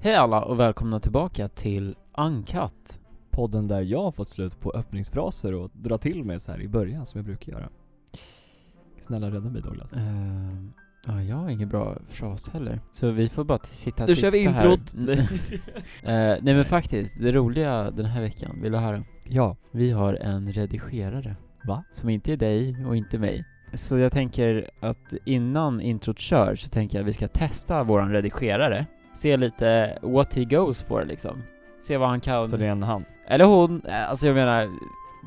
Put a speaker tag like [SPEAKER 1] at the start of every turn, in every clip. [SPEAKER 1] Hej alla och välkomna tillbaka till Uncut.
[SPEAKER 2] podden där jag har fått slut på öppningsfraser och dra till med så här i början som jag brukar göra. Snälla rädda mig Douglas.
[SPEAKER 1] Ehm, ja, jag har ingen bra fras heller. Så vi får bara t- sitta
[SPEAKER 2] Nu kör vi
[SPEAKER 1] tysta här.
[SPEAKER 2] introt.
[SPEAKER 1] Mm. Eh, nej men faktiskt, det roliga den här veckan, vill du höra?
[SPEAKER 2] Ja.
[SPEAKER 1] Vi har en redigerare.
[SPEAKER 2] Va?
[SPEAKER 1] Som inte är dig och inte mig. Så jag tänker att innan introt kör så tänker jag att vi ska testa våran redigerare. Se lite what he goes for liksom. Se vad han kan.
[SPEAKER 2] Så det är en han.
[SPEAKER 1] Eller hon, eh, alltså jag menar,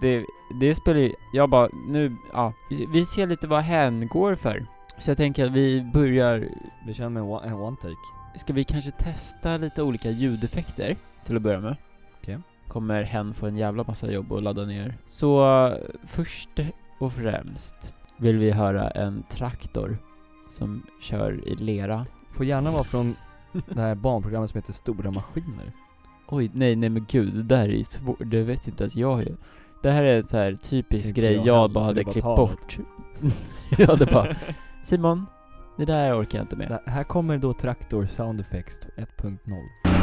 [SPEAKER 1] det, det spelar ju, jag bara, nu, ja. Vi, vi ser lite vad hen går för. Så jag tänker att vi börjar,
[SPEAKER 2] Vi kör med en one, en one take.
[SPEAKER 1] ska vi kanske testa lite olika ljudeffekter till att börja med?
[SPEAKER 2] Okej.
[SPEAKER 1] Kommer hen få en jävla massa jobb att ladda ner. Så eh, först och främst vill vi höra en traktor som kör i lera.
[SPEAKER 2] Får gärna vara från det här barnprogrammet som heter Stora Maskiner.
[SPEAKER 1] Oj, nej, nej men gud, det där är ju svårt, det vet inte att jag är. Det här är en så här typisk
[SPEAKER 2] Inte
[SPEAKER 1] grej
[SPEAKER 2] jag
[SPEAKER 1] jag,
[SPEAKER 2] heller,
[SPEAKER 1] bara
[SPEAKER 2] så
[SPEAKER 1] hade
[SPEAKER 2] det är bara
[SPEAKER 1] klippt
[SPEAKER 2] ta
[SPEAKER 1] bort. jag hade bara, Simon, det där orkar jag inte med.
[SPEAKER 2] Så här kommer då Traktor Sound Effects 1.0.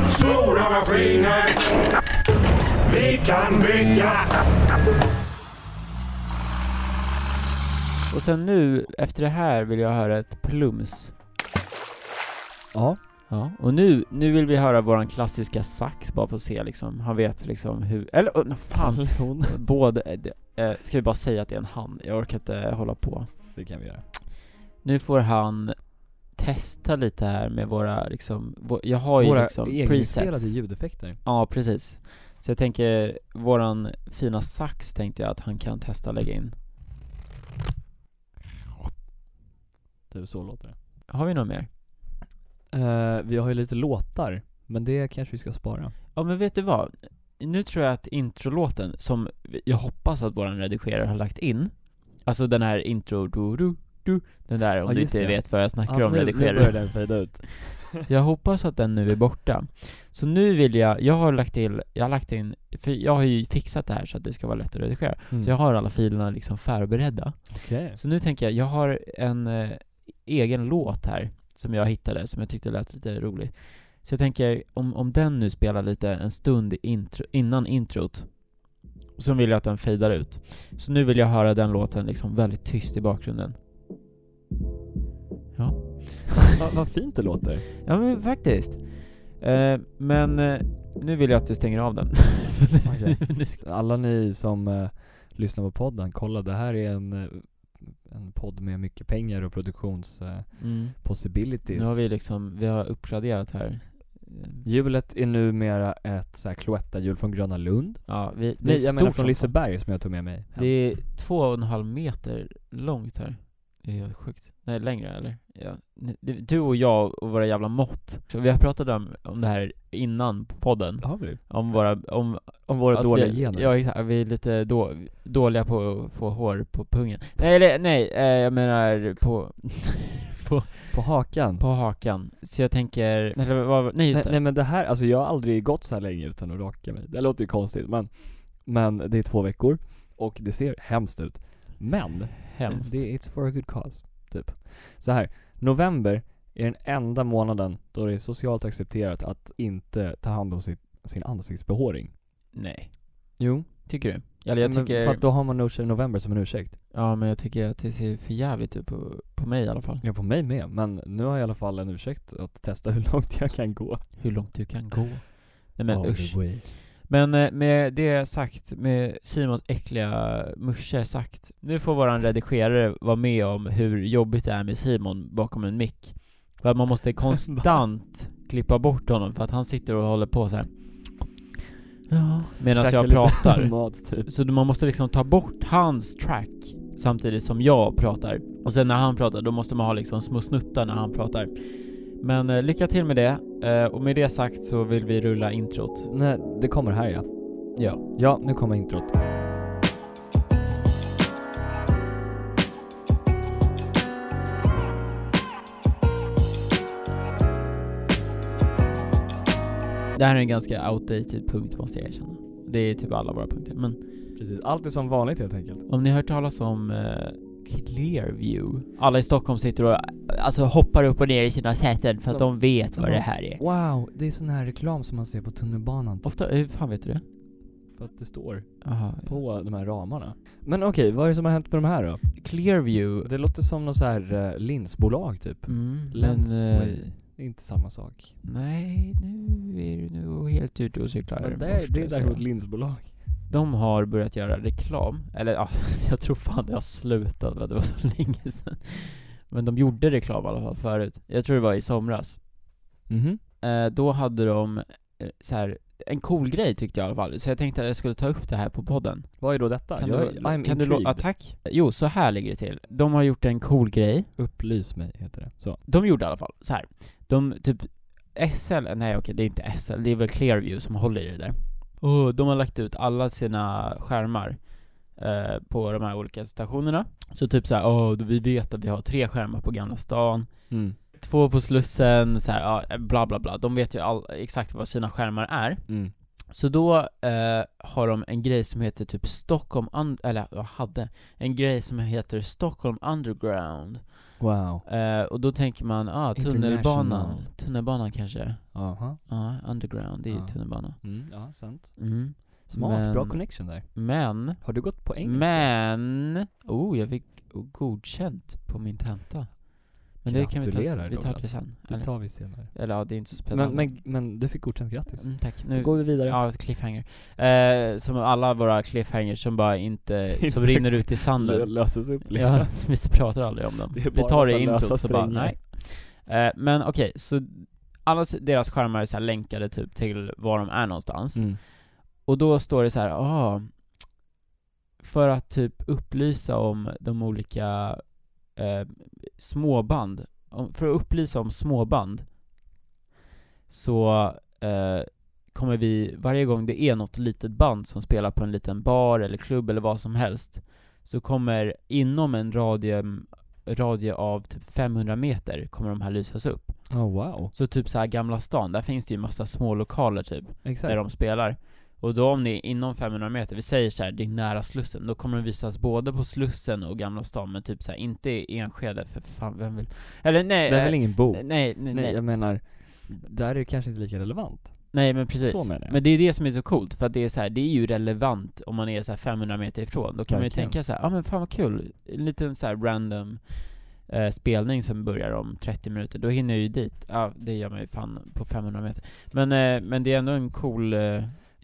[SPEAKER 3] Stora maskiner. Vi kan bygga.
[SPEAKER 1] Och sen nu, efter det här vill jag höra ett plums.
[SPEAKER 2] Ja.
[SPEAKER 1] Ja, och nu, nu vill vi höra våran klassiska sax bara för att se liksom, han vet liksom hur, eller oh, fan,
[SPEAKER 2] Hon.
[SPEAKER 1] både, eh, det- eh, ska vi bara säga att det är en han, jag orkar inte hålla på.
[SPEAKER 2] Det kan vi göra.
[SPEAKER 1] Nu får han testa lite här med våra liksom, vå- jag har ju
[SPEAKER 2] Våra
[SPEAKER 1] liksom
[SPEAKER 2] egenspelade ljudeffekter.
[SPEAKER 1] Ja, precis. Så jag tänker, våran fina sax tänkte jag att han kan testa lägga in.
[SPEAKER 2] Typ så låter det.
[SPEAKER 1] Har vi något mer?
[SPEAKER 2] Eh, vi har ju lite låtar, men det kanske vi ska spara.
[SPEAKER 1] Ja men vet du vad? Nu tror jag att introlåten, som vi- jag hoppas att våran redigerare har lagt in, alltså den här intro, du, du, du, den där om
[SPEAKER 2] Ja,
[SPEAKER 1] du
[SPEAKER 2] just
[SPEAKER 1] inte
[SPEAKER 2] det.
[SPEAKER 1] vet vad jag snackar
[SPEAKER 2] Ja,
[SPEAKER 1] om
[SPEAKER 2] Ah, nu, nu
[SPEAKER 1] redigerare.
[SPEAKER 2] börjar den fejda ut.
[SPEAKER 1] Jag hoppas att den nu är borta. Så nu vill jag, jag har lagt till, jag har lagt in, för jag har ju fixat det här så att det ska vara lätt att redigera.
[SPEAKER 2] Mm.
[SPEAKER 1] Så jag har alla filerna liksom förberedda.
[SPEAKER 2] Okej.
[SPEAKER 1] Så nu tänker jag, jag har en eh, egen låt här som jag hittade som jag tyckte lät lite rolig. Så jag tänker, om, om den nu spelar lite en stund i intro, innan introt, och så vill jag att den fejdar ut. Så nu vill jag höra den låten liksom väldigt tyst i bakgrunden. Ja,
[SPEAKER 2] Vad vad fint det låter.
[SPEAKER 1] ja men faktiskt. Eh, men eh, nu vill jag att du stänger av den.
[SPEAKER 2] Okej.
[SPEAKER 1] Nu ska-
[SPEAKER 2] Alla ni som eh, lyssnar på podden, kolla det här är en, eh, en podd med mycket pengar och produktionspossibilities.
[SPEAKER 1] mm.
[SPEAKER 2] possibilities.
[SPEAKER 1] Nu har vi liksom, vi har uppgraderat här. Eh,
[SPEAKER 2] Hjulet är numera ett så här Cloetta-hjul från Gröna Lund.
[SPEAKER 1] Ja, vi, det är
[SPEAKER 2] Nej jag menar
[SPEAKER 1] stort som
[SPEAKER 2] från
[SPEAKER 1] fan.
[SPEAKER 2] Liseberg som jag tog med mig hem.
[SPEAKER 1] Det är två och en halv meter långt här. Det är helt sjukt. Nej, längre eller? Ja. Det- Du och jag och våra jävla mått. Så vi har pratat om, om det här innan på podden.
[SPEAKER 2] har vi.
[SPEAKER 1] Om våra, om...
[SPEAKER 2] Om våra
[SPEAKER 1] att
[SPEAKER 2] dåliga
[SPEAKER 1] vi,
[SPEAKER 2] gener.
[SPEAKER 1] Ja exakt, vi är lite då, dåliga på att få hår på pungen. Nej, eller, nej, eh, jag menar på,
[SPEAKER 2] På hakan.
[SPEAKER 1] på hakan. Så jag tänker, eller vad, nej
[SPEAKER 2] nej,
[SPEAKER 1] just det.
[SPEAKER 2] nej men det här, alltså jag har aldrig gått så här länge utan att raka mig. Det låter ju konstigt men, men det är två veckor och det ser hemskt ut. Men
[SPEAKER 1] Hemskt.
[SPEAKER 2] Det, it's for a good cause, typ. Så här, november är den enda månaden då det är socialt accepterat att inte ta hand om sitt, sin ansiktsbehåring.
[SPEAKER 1] Nej.
[SPEAKER 2] Jo,
[SPEAKER 1] Tycker du? Eller jag tycker,
[SPEAKER 2] För att då har man No Shave November som en ursäkt.
[SPEAKER 1] ja men jag tycker att det ser för jävligt ut på, på mig i alla fall.
[SPEAKER 2] Ja, på mig med, men nu har jag i alla fall en ursäkt att testa hur långt jag kan gå.
[SPEAKER 1] Hur långt du kan gå. Nej men
[SPEAKER 2] All the
[SPEAKER 1] usch.
[SPEAKER 2] way.
[SPEAKER 1] Men eh, med det sagt, med Simons äckliga musche sagt, nu får våran redigerare vara med om hur jobbigt det är med Simon bakom en mick. För att man måste konstant klippa bort honom för att han sitter och håller på så här. Ja, medan
[SPEAKER 2] Käka
[SPEAKER 1] jag
[SPEAKER 2] lite
[SPEAKER 1] pratar.
[SPEAKER 2] Mat, typ.
[SPEAKER 1] Så, så man måste liksom ta bort hans track samtidigt som jag pratar. Och sen när han pratar, då måste man ha liksom små snuttar när han pratar. Men eh, lycka till med det. Eh, och med det sagt så vill vi rulla introt.
[SPEAKER 2] Nej, det kommer här ja.
[SPEAKER 1] Ja.
[SPEAKER 2] Ja, nu kommer introt.
[SPEAKER 1] Det här är en ganska outdated punkt måste jag erkänna. Det är typ alla våra punkter. Men
[SPEAKER 2] Precis, allt är som vanligt helt enkelt.
[SPEAKER 1] om ni har hört talas om eh, Clearview. Alla i Stockholm sitter och alltså, hoppar upp och ner i sina säten för att de
[SPEAKER 2] De-
[SPEAKER 1] vet vad
[SPEAKER 2] de-
[SPEAKER 1] det här är.
[SPEAKER 2] Wow, det är sån här reklam som man ser på tunnelbanan.
[SPEAKER 1] Ofta, hur fan vet du det?
[SPEAKER 2] För att det står
[SPEAKER 1] Aha.
[SPEAKER 2] på de här ramarna. Men okej, vad är det som har hänt med de här då?
[SPEAKER 1] Clearview.
[SPEAKER 2] Det låter som något så här eh, linsbolag typ.
[SPEAKER 1] Mm, men, eh,
[SPEAKER 2] Lensway. Inte samma sak.
[SPEAKER 1] nej, nu är du nu helt ute och cyklar.
[SPEAKER 2] Men det,
[SPEAKER 1] måste
[SPEAKER 2] är- det är
[SPEAKER 1] jag
[SPEAKER 2] däremot
[SPEAKER 1] säga.
[SPEAKER 2] linsbolag.
[SPEAKER 1] De har börjat göra reklam, eller ja, jag tror fan det har slutat men det var så länge sedan. Men de gjorde reklam i alla fall förut. Jag tror det var i somras.
[SPEAKER 2] Mhm.
[SPEAKER 1] Eh, då hade de eh, så här en cool grej tyckte jag i alla fall, så jag tänkte att jag skulle ta upp det här på podden.
[SPEAKER 2] Vad är då detta?
[SPEAKER 1] Kan
[SPEAKER 2] jag,
[SPEAKER 1] du,
[SPEAKER 2] I'm
[SPEAKER 1] kan du lo- ja,
[SPEAKER 2] intrigued.
[SPEAKER 1] tack. Jo, så här ligger det till. De har gjort en cool grej.
[SPEAKER 2] Upplys mig heter det. Så.
[SPEAKER 1] De gjorde i alla fall så här. De typ SL, nej okej det är inte SL, det är väl Clearview som håller i det där. Och de har lagt ut alla sina skärmar eh, på de här olika stationerna. Så typ så här, åh vi vet att vi har tre skärmar på Gamla stan,
[SPEAKER 2] Mm.
[SPEAKER 1] två på Slussen, så här, ja, eh, bla bla bla. De vet ju all, exakt vad sina skärmar är.
[SPEAKER 2] Mm.
[SPEAKER 1] Så då eh, har de en grej som heter typ Stockholm, un- eller jag hade, en grej som heter Stockholm Underground.
[SPEAKER 2] Wow.
[SPEAKER 1] Eh, och då tänker man, ah
[SPEAKER 2] International.
[SPEAKER 1] tunnelbanan, tunnelbanan kanske?
[SPEAKER 2] Aha.
[SPEAKER 1] Ja, underground, det är ju
[SPEAKER 2] Ja.
[SPEAKER 1] tunnelbana.
[SPEAKER 2] Mm. Ja, sant.
[SPEAKER 1] Mm.
[SPEAKER 2] Smart, bra
[SPEAKER 1] Men-
[SPEAKER 2] connection där.
[SPEAKER 1] Men,
[SPEAKER 2] Har du gått på engelska?
[SPEAKER 1] men, oh jag fick godkänt på min tenta. Men det kan vi ta,
[SPEAKER 2] Gratulerar,
[SPEAKER 1] vi tar det
[SPEAKER 2] Douglas.
[SPEAKER 1] sen.
[SPEAKER 2] Det
[SPEAKER 1] Eller,
[SPEAKER 2] tar vi senare.
[SPEAKER 1] eller ja, det är inte så spännande.
[SPEAKER 2] Men, men, men du fick godkänt, grattis.
[SPEAKER 1] mm, tack.
[SPEAKER 2] Då
[SPEAKER 1] Nu,
[SPEAKER 2] går vi vidare.
[SPEAKER 1] Ja, ett cliffhanger. Eh, som alla våra cliffhangers som bara inte, som
[SPEAKER 2] Inte-
[SPEAKER 1] rinner ut i
[SPEAKER 2] Det
[SPEAKER 1] sanden.
[SPEAKER 2] löses upp liksom.
[SPEAKER 1] Ja, vi pratar aldrig om dem.
[SPEAKER 2] Det är
[SPEAKER 1] Vi
[SPEAKER 2] bara
[SPEAKER 1] tar det
[SPEAKER 2] massa
[SPEAKER 1] i introt
[SPEAKER 2] lösa
[SPEAKER 1] så bara,
[SPEAKER 2] strängar.
[SPEAKER 1] nej. Eh, men okej, så alla s- deras skärmar är så här länkade typ till var de är någonstans.
[SPEAKER 2] Mm.
[SPEAKER 1] Och då står det så här, ah, för att typ upplysa om de olika eh, småband, om, för att upplysa om småband så eh, kommer vi, varje gång det är något litet band som spelar på en liten bar eller klubb eller vad som helst så kommer inom en radie, radie av typ 500 meter kommer de här lysas upp.
[SPEAKER 2] Oh, wow.
[SPEAKER 1] Så typ så här Gamla stan, där finns det ju massa små lokaler typ
[SPEAKER 2] Exakt.
[SPEAKER 1] där de spelar. Och då om ni är inom 500 meter, vi säger så här, det är nära Slussen, då kommer det visas både på Slussen och Gamla stan, men typ så här, inte i Enskede, för fan vem vill... Eller nej,
[SPEAKER 2] det är
[SPEAKER 1] eh,
[SPEAKER 2] väl ingen bok?
[SPEAKER 1] nej, nej, nej,
[SPEAKER 2] Nej,
[SPEAKER 1] nej,
[SPEAKER 2] jag menar, där är det kanske inte lika relevant.
[SPEAKER 1] men precis.
[SPEAKER 2] Så menar jag.
[SPEAKER 1] Men det är det som är så coolt, för att det är så här, det är ju relevant om man är så här 500 meter ifrån. Då kan man ju
[SPEAKER 2] Verkligen.
[SPEAKER 1] tänka så här, ja ah, men fan vad kul, en liten så här random eh, spelning som börjar om 30 minuter, då hinner jag ju dit. Ja, det gör man ju fan på 500 meter. Men, eh, men det är ändå en cool eh,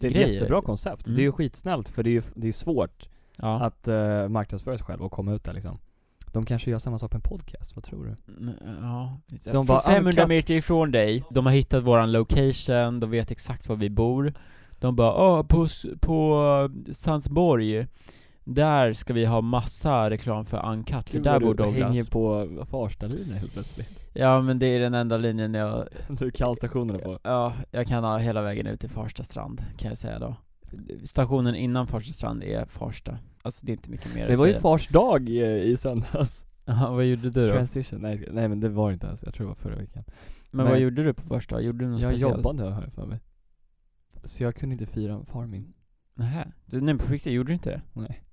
[SPEAKER 2] Det är ett
[SPEAKER 1] grej.
[SPEAKER 2] jättebra koncept.
[SPEAKER 1] Mm.
[SPEAKER 2] Det är ju skitsnällt för det är ju det är svårt
[SPEAKER 1] Ja.
[SPEAKER 2] att eh, marknadsföra sig själv och komma ut där liksom. De kanske gör samma sak med en podcast, vad tror du?
[SPEAKER 1] N- Mm, Ja,
[SPEAKER 2] De
[SPEAKER 1] de
[SPEAKER 2] bara, "Ah,
[SPEAKER 1] var 500
[SPEAKER 2] "Uncut."
[SPEAKER 1] meter ifrån dig, de har hittat våran location, de vet exakt var vi bor De bara ah på, s- på Sandsborg, där ska vi ha massa reklam för Uncut, för där
[SPEAKER 2] vad
[SPEAKER 1] bor
[SPEAKER 2] du
[SPEAKER 1] Douglas
[SPEAKER 2] hänger på Farstalinjen helt plötsligt.
[SPEAKER 1] Ja men det är den enda linjen jag,
[SPEAKER 2] Du kan stationerna på.
[SPEAKER 1] ja, jag kan ha hela vägen ut till Farsta strand, kan jag säga då Stationen innan Farsta strand är Farsta, alltså det är inte mycket mer
[SPEAKER 2] Det
[SPEAKER 1] att
[SPEAKER 2] var ju
[SPEAKER 1] säga.
[SPEAKER 2] fars dag eh, i söndags.
[SPEAKER 1] Ja, vad gjorde du då?
[SPEAKER 2] Transition, nej, jag ska- nej men det var det inte ens, jag tror det var förra veckan.
[SPEAKER 1] men
[SPEAKER 2] men-
[SPEAKER 1] vad gjorde du på Farsta? Gjorde du något
[SPEAKER 2] Jag
[SPEAKER 1] speciellt?
[SPEAKER 2] jobbade har jag för mig. Så jag kunde inte fira far min.
[SPEAKER 1] Nähä, du, nej på riktigt, gjorde du inte det?
[SPEAKER 2] Nej.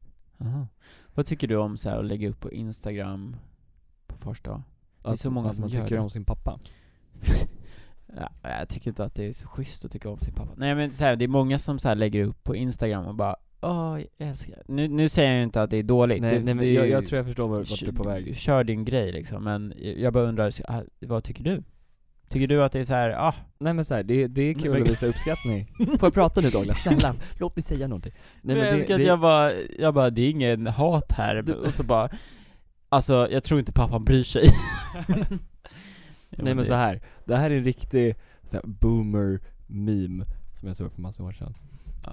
[SPEAKER 1] Aha. Vad tycker du om så här att lägga upp på Instagram på första? är
[SPEAKER 2] Att-
[SPEAKER 1] så många
[SPEAKER 2] att
[SPEAKER 1] som
[SPEAKER 2] man
[SPEAKER 1] gör
[SPEAKER 2] tycker
[SPEAKER 1] det.
[SPEAKER 2] om sin pappa.
[SPEAKER 1] ja, jag tycker inte att det är så schysst att tycka om sin pappa. Nej men så här, det är många som så här lägger upp på Instagram och bara Åh, jag älskar nu, nu säger jag ju inte att det är dåligt.
[SPEAKER 2] Nej,
[SPEAKER 1] det,
[SPEAKER 2] nej
[SPEAKER 1] det
[SPEAKER 2] men
[SPEAKER 1] är
[SPEAKER 2] jag,
[SPEAKER 1] ju-
[SPEAKER 2] jag tror jag förstår vart vart du är på väg.
[SPEAKER 1] Kör din grej liksom, men jag bara undrar, så- ah, vad tycker du? Tycker du att det är så här, ah,
[SPEAKER 2] Nej men såhär, det, det är
[SPEAKER 1] Nej,
[SPEAKER 2] kul
[SPEAKER 1] men-
[SPEAKER 2] att visa uppskattning. Får jag prata nu Douglas? Snälla, låt mig säga någonting. Nej
[SPEAKER 1] men jag
[SPEAKER 2] det,
[SPEAKER 1] älskar att
[SPEAKER 2] det,
[SPEAKER 1] jag bara, jag bara, det är ingen hat här, och så bara Alltså, jag tror inte pappan bryr sig
[SPEAKER 2] nej men
[SPEAKER 1] det-
[SPEAKER 2] så här. det här är en riktig så här, boomer meme som jag såg för massa år sedan.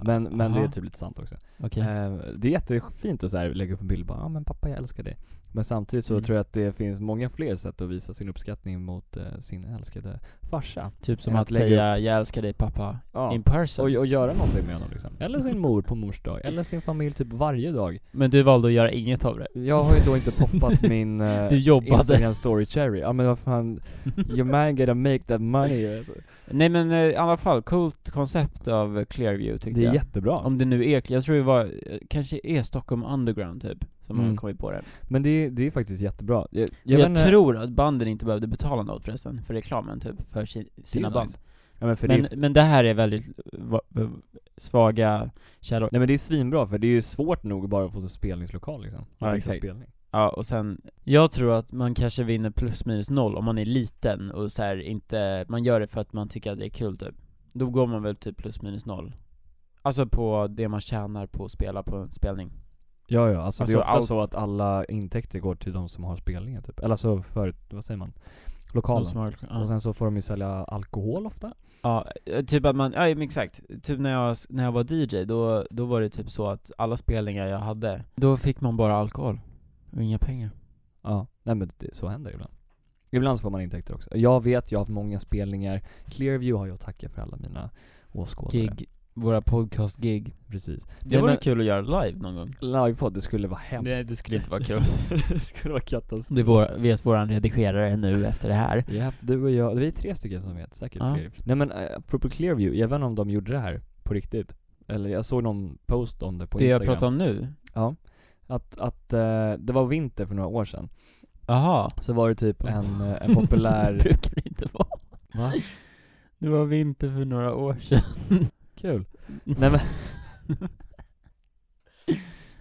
[SPEAKER 2] Men, men det är
[SPEAKER 1] Aha.
[SPEAKER 2] typ lite sant också.
[SPEAKER 1] Okej.
[SPEAKER 2] Eh, det är jättefint att så här, lägga upp en bild och bara, ja ah, men pappa jag älskar dig. Men samtidigt så
[SPEAKER 1] Mm.
[SPEAKER 2] tror jag att det finns många fler sätt att visa sin uppskattning mot eh, sin älskade farsa.
[SPEAKER 1] Typ som
[SPEAKER 2] Än
[SPEAKER 1] att,
[SPEAKER 2] att lägga
[SPEAKER 1] säga 'Jag älskar dig pappa'
[SPEAKER 2] Ja.
[SPEAKER 1] in person
[SPEAKER 2] Och, och göra någonting med honom liksom. Eller sin mor på mors dag, eller sin familj typ varje dag.
[SPEAKER 1] Men du valde att göra inget av det
[SPEAKER 2] Jag har ju då inte poppat min eh,
[SPEAKER 1] Du jobbade.
[SPEAKER 2] Instagram story cherry. Ja men vad fan, your man gotta make that money. Alltså.
[SPEAKER 1] Nej men eh, i alla fall, coolt koncept av Clearview tyckte
[SPEAKER 2] Det är
[SPEAKER 1] jag
[SPEAKER 2] jättebra.
[SPEAKER 1] Om det nu är, jag tror det var, eh, kanske är Stockholm Underground typ som har
[SPEAKER 2] Mm.
[SPEAKER 1] kommit på det.
[SPEAKER 2] Men det, är- det är faktiskt jättebra. Jag,
[SPEAKER 1] Jag,
[SPEAKER 2] vet inte-
[SPEAKER 1] tror att banden inte behövde betala något förresten, för reklamen typ, för si- sina
[SPEAKER 2] nice.
[SPEAKER 1] band.
[SPEAKER 2] Ja, men, för
[SPEAKER 1] Men,
[SPEAKER 2] det är,
[SPEAKER 1] men det här är väldigt va- va- svaga källor.
[SPEAKER 2] nej men det är svinbra för det är ju svårt nog bara att få en spelningslokal liksom.
[SPEAKER 1] Ja,
[SPEAKER 2] Fixa
[SPEAKER 1] exakt.
[SPEAKER 2] Spelning.
[SPEAKER 1] Ja, och sen, jag tror att man kanske vinner plus minus noll om man är liten och så här inte, man gör det för att man tycker att det är kul typ. Då går man väl typ plus minus noll. Alltså på det man tjänar på att spela på en spelning.
[SPEAKER 2] Ja, ja, alltså, det
[SPEAKER 1] Alltså,
[SPEAKER 2] är ofta
[SPEAKER 1] allt.
[SPEAKER 2] så att alla intäkter går till de som har spelningen typ. Eller alltså för, vad säger man? Lokalen.
[SPEAKER 1] De som har, liksom,
[SPEAKER 2] Och
[SPEAKER 1] ja.
[SPEAKER 2] sen så får de ju sälja alkohol ofta.
[SPEAKER 1] ja, eh, typ att man, ja men exakt. Typ när jag, s- när jag var DJ, då, då var det typ så att alla spelningar jag hade, då fick man bara alkohol. Och inga pengar.
[SPEAKER 2] Ja, nej men det, så händer det ibland. Ibland så får man intäkter också. Jag vet, jag har haft många spelningar. Clearview har jag att tacka för alla mina åskådare.
[SPEAKER 1] Gig. Våra podcast-gig.
[SPEAKER 2] Precis.
[SPEAKER 1] Det
[SPEAKER 2] Nej,
[SPEAKER 1] vore
[SPEAKER 2] men-
[SPEAKER 1] kul att göra live någon gång.
[SPEAKER 2] Livepodd, det skulle vara hemskt.
[SPEAKER 1] Nej, det skulle inte vara kul.
[SPEAKER 2] det skulle vara katastrof.
[SPEAKER 1] Det vår, vet våran redigerare nu efter det här.
[SPEAKER 2] Ja, du och jag, vi är tre stycken som vet, säkert
[SPEAKER 1] Ja.
[SPEAKER 2] fler. Nej men eh, apropå Clearview, jag vet inte om de gjorde det här på riktigt. Eller jag såg någon post om det på
[SPEAKER 1] det jag
[SPEAKER 2] Instagram.
[SPEAKER 1] pratar om nu?
[SPEAKER 2] Ja. Att, att eh, det var vinter för några år sedan.
[SPEAKER 1] Jaha.
[SPEAKER 2] Så var det typ en, eh, en populär...
[SPEAKER 1] brukar det inte vara.
[SPEAKER 2] Va?
[SPEAKER 1] Det var vinter för några år sedan.
[SPEAKER 2] Kul.
[SPEAKER 1] Mm.
[SPEAKER 2] Nej men...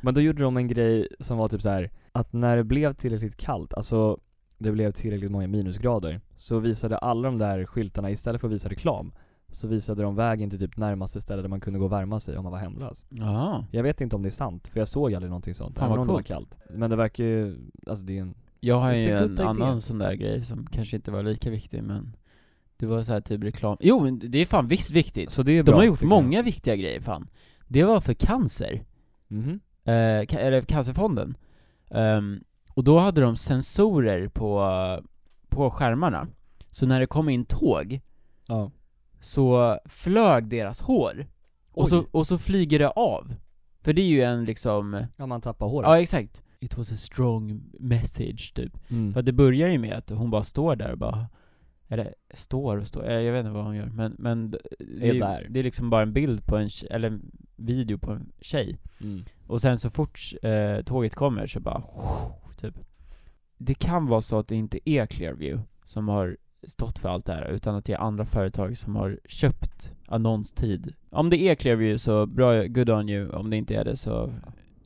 [SPEAKER 2] men då gjorde de en grej som var typ så här att när det blev tillräckligt kallt, alltså det blev tillräckligt många minusgrader, så visade alla de där skyltarna, istället för att visa reklam, så visade de vägen till typ närmaste ställe där man kunde gå och värma sig om man var hemlös.
[SPEAKER 1] Jaha.
[SPEAKER 2] Jag vet inte om det är sant, för jag såg aldrig någonting sånt,
[SPEAKER 1] Fan,
[SPEAKER 2] även
[SPEAKER 1] vad
[SPEAKER 2] om det var
[SPEAKER 1] coolt.
[SPEAKER 2] kallt. Men det verkar ju, alltså det är en...
[SPEAKER 1] Jag har
[SPEAKER 2] Så it's
[SPEAKER 1] ju
[SPEAKER 2] a good
[SPEAKER 1] en
[SPEAKER 2] idea.
[SPEAKER 1] annan sån där grej som kanske inte var lika viktig men Det var så här typ reklam. Jo men det är fan visst viktigt.
[SPEAKER 2] Så det
[SPEAKER 1] De
[SPEAKER 2] är bra,
[SPEAKER 1] har gjort
[SPEAKER 2] tycker
[SPEAKER 1] många viktiga grejer fan. Det var för cancer.
[SPEAKER 2] Jag. Mhm.
[SPEAKER 1] eh, ca- eller Cancerfonden. Ehm, och då hade de sensorer på, på skärmarna. Så när det kom in tåg
[SPEAKER 2] Ja.
[SPEAKER 1] så flög deras hår. Och så,
[SPEAKER 2] Oj.
[SPEAKER 1] och så flyger det av. För det är ju en liksom,
[SPEAKER 2] ja, man tappar håret.
[SPEAKER 1] ja exakt. It was a strong message typ.
[SPEAKER 2] Mm.
[SPEAKER 1] För att det börjar ju med att hon bara står där och bara eller står och står, eh, jag vet inte vad hon gör men, men d- det,
[SPEAKER 2] Är
[SPEAKER 1] ju-
[SPEAKER 2] där.
[SPEAKER 1] det är liksom bara en bild på en, tje- eller en video på en tjej
[SPEAKER 2] Mm.
[SPEAKER 1] och sen så fort eh, tåget kommer så bara typ. Det kan vara så att det inte är Clearview som har stått för allt det här, utan att det är andra företag som har köpt annonstid. Om det är Clearview så bra, good on you. Om det inte är det så...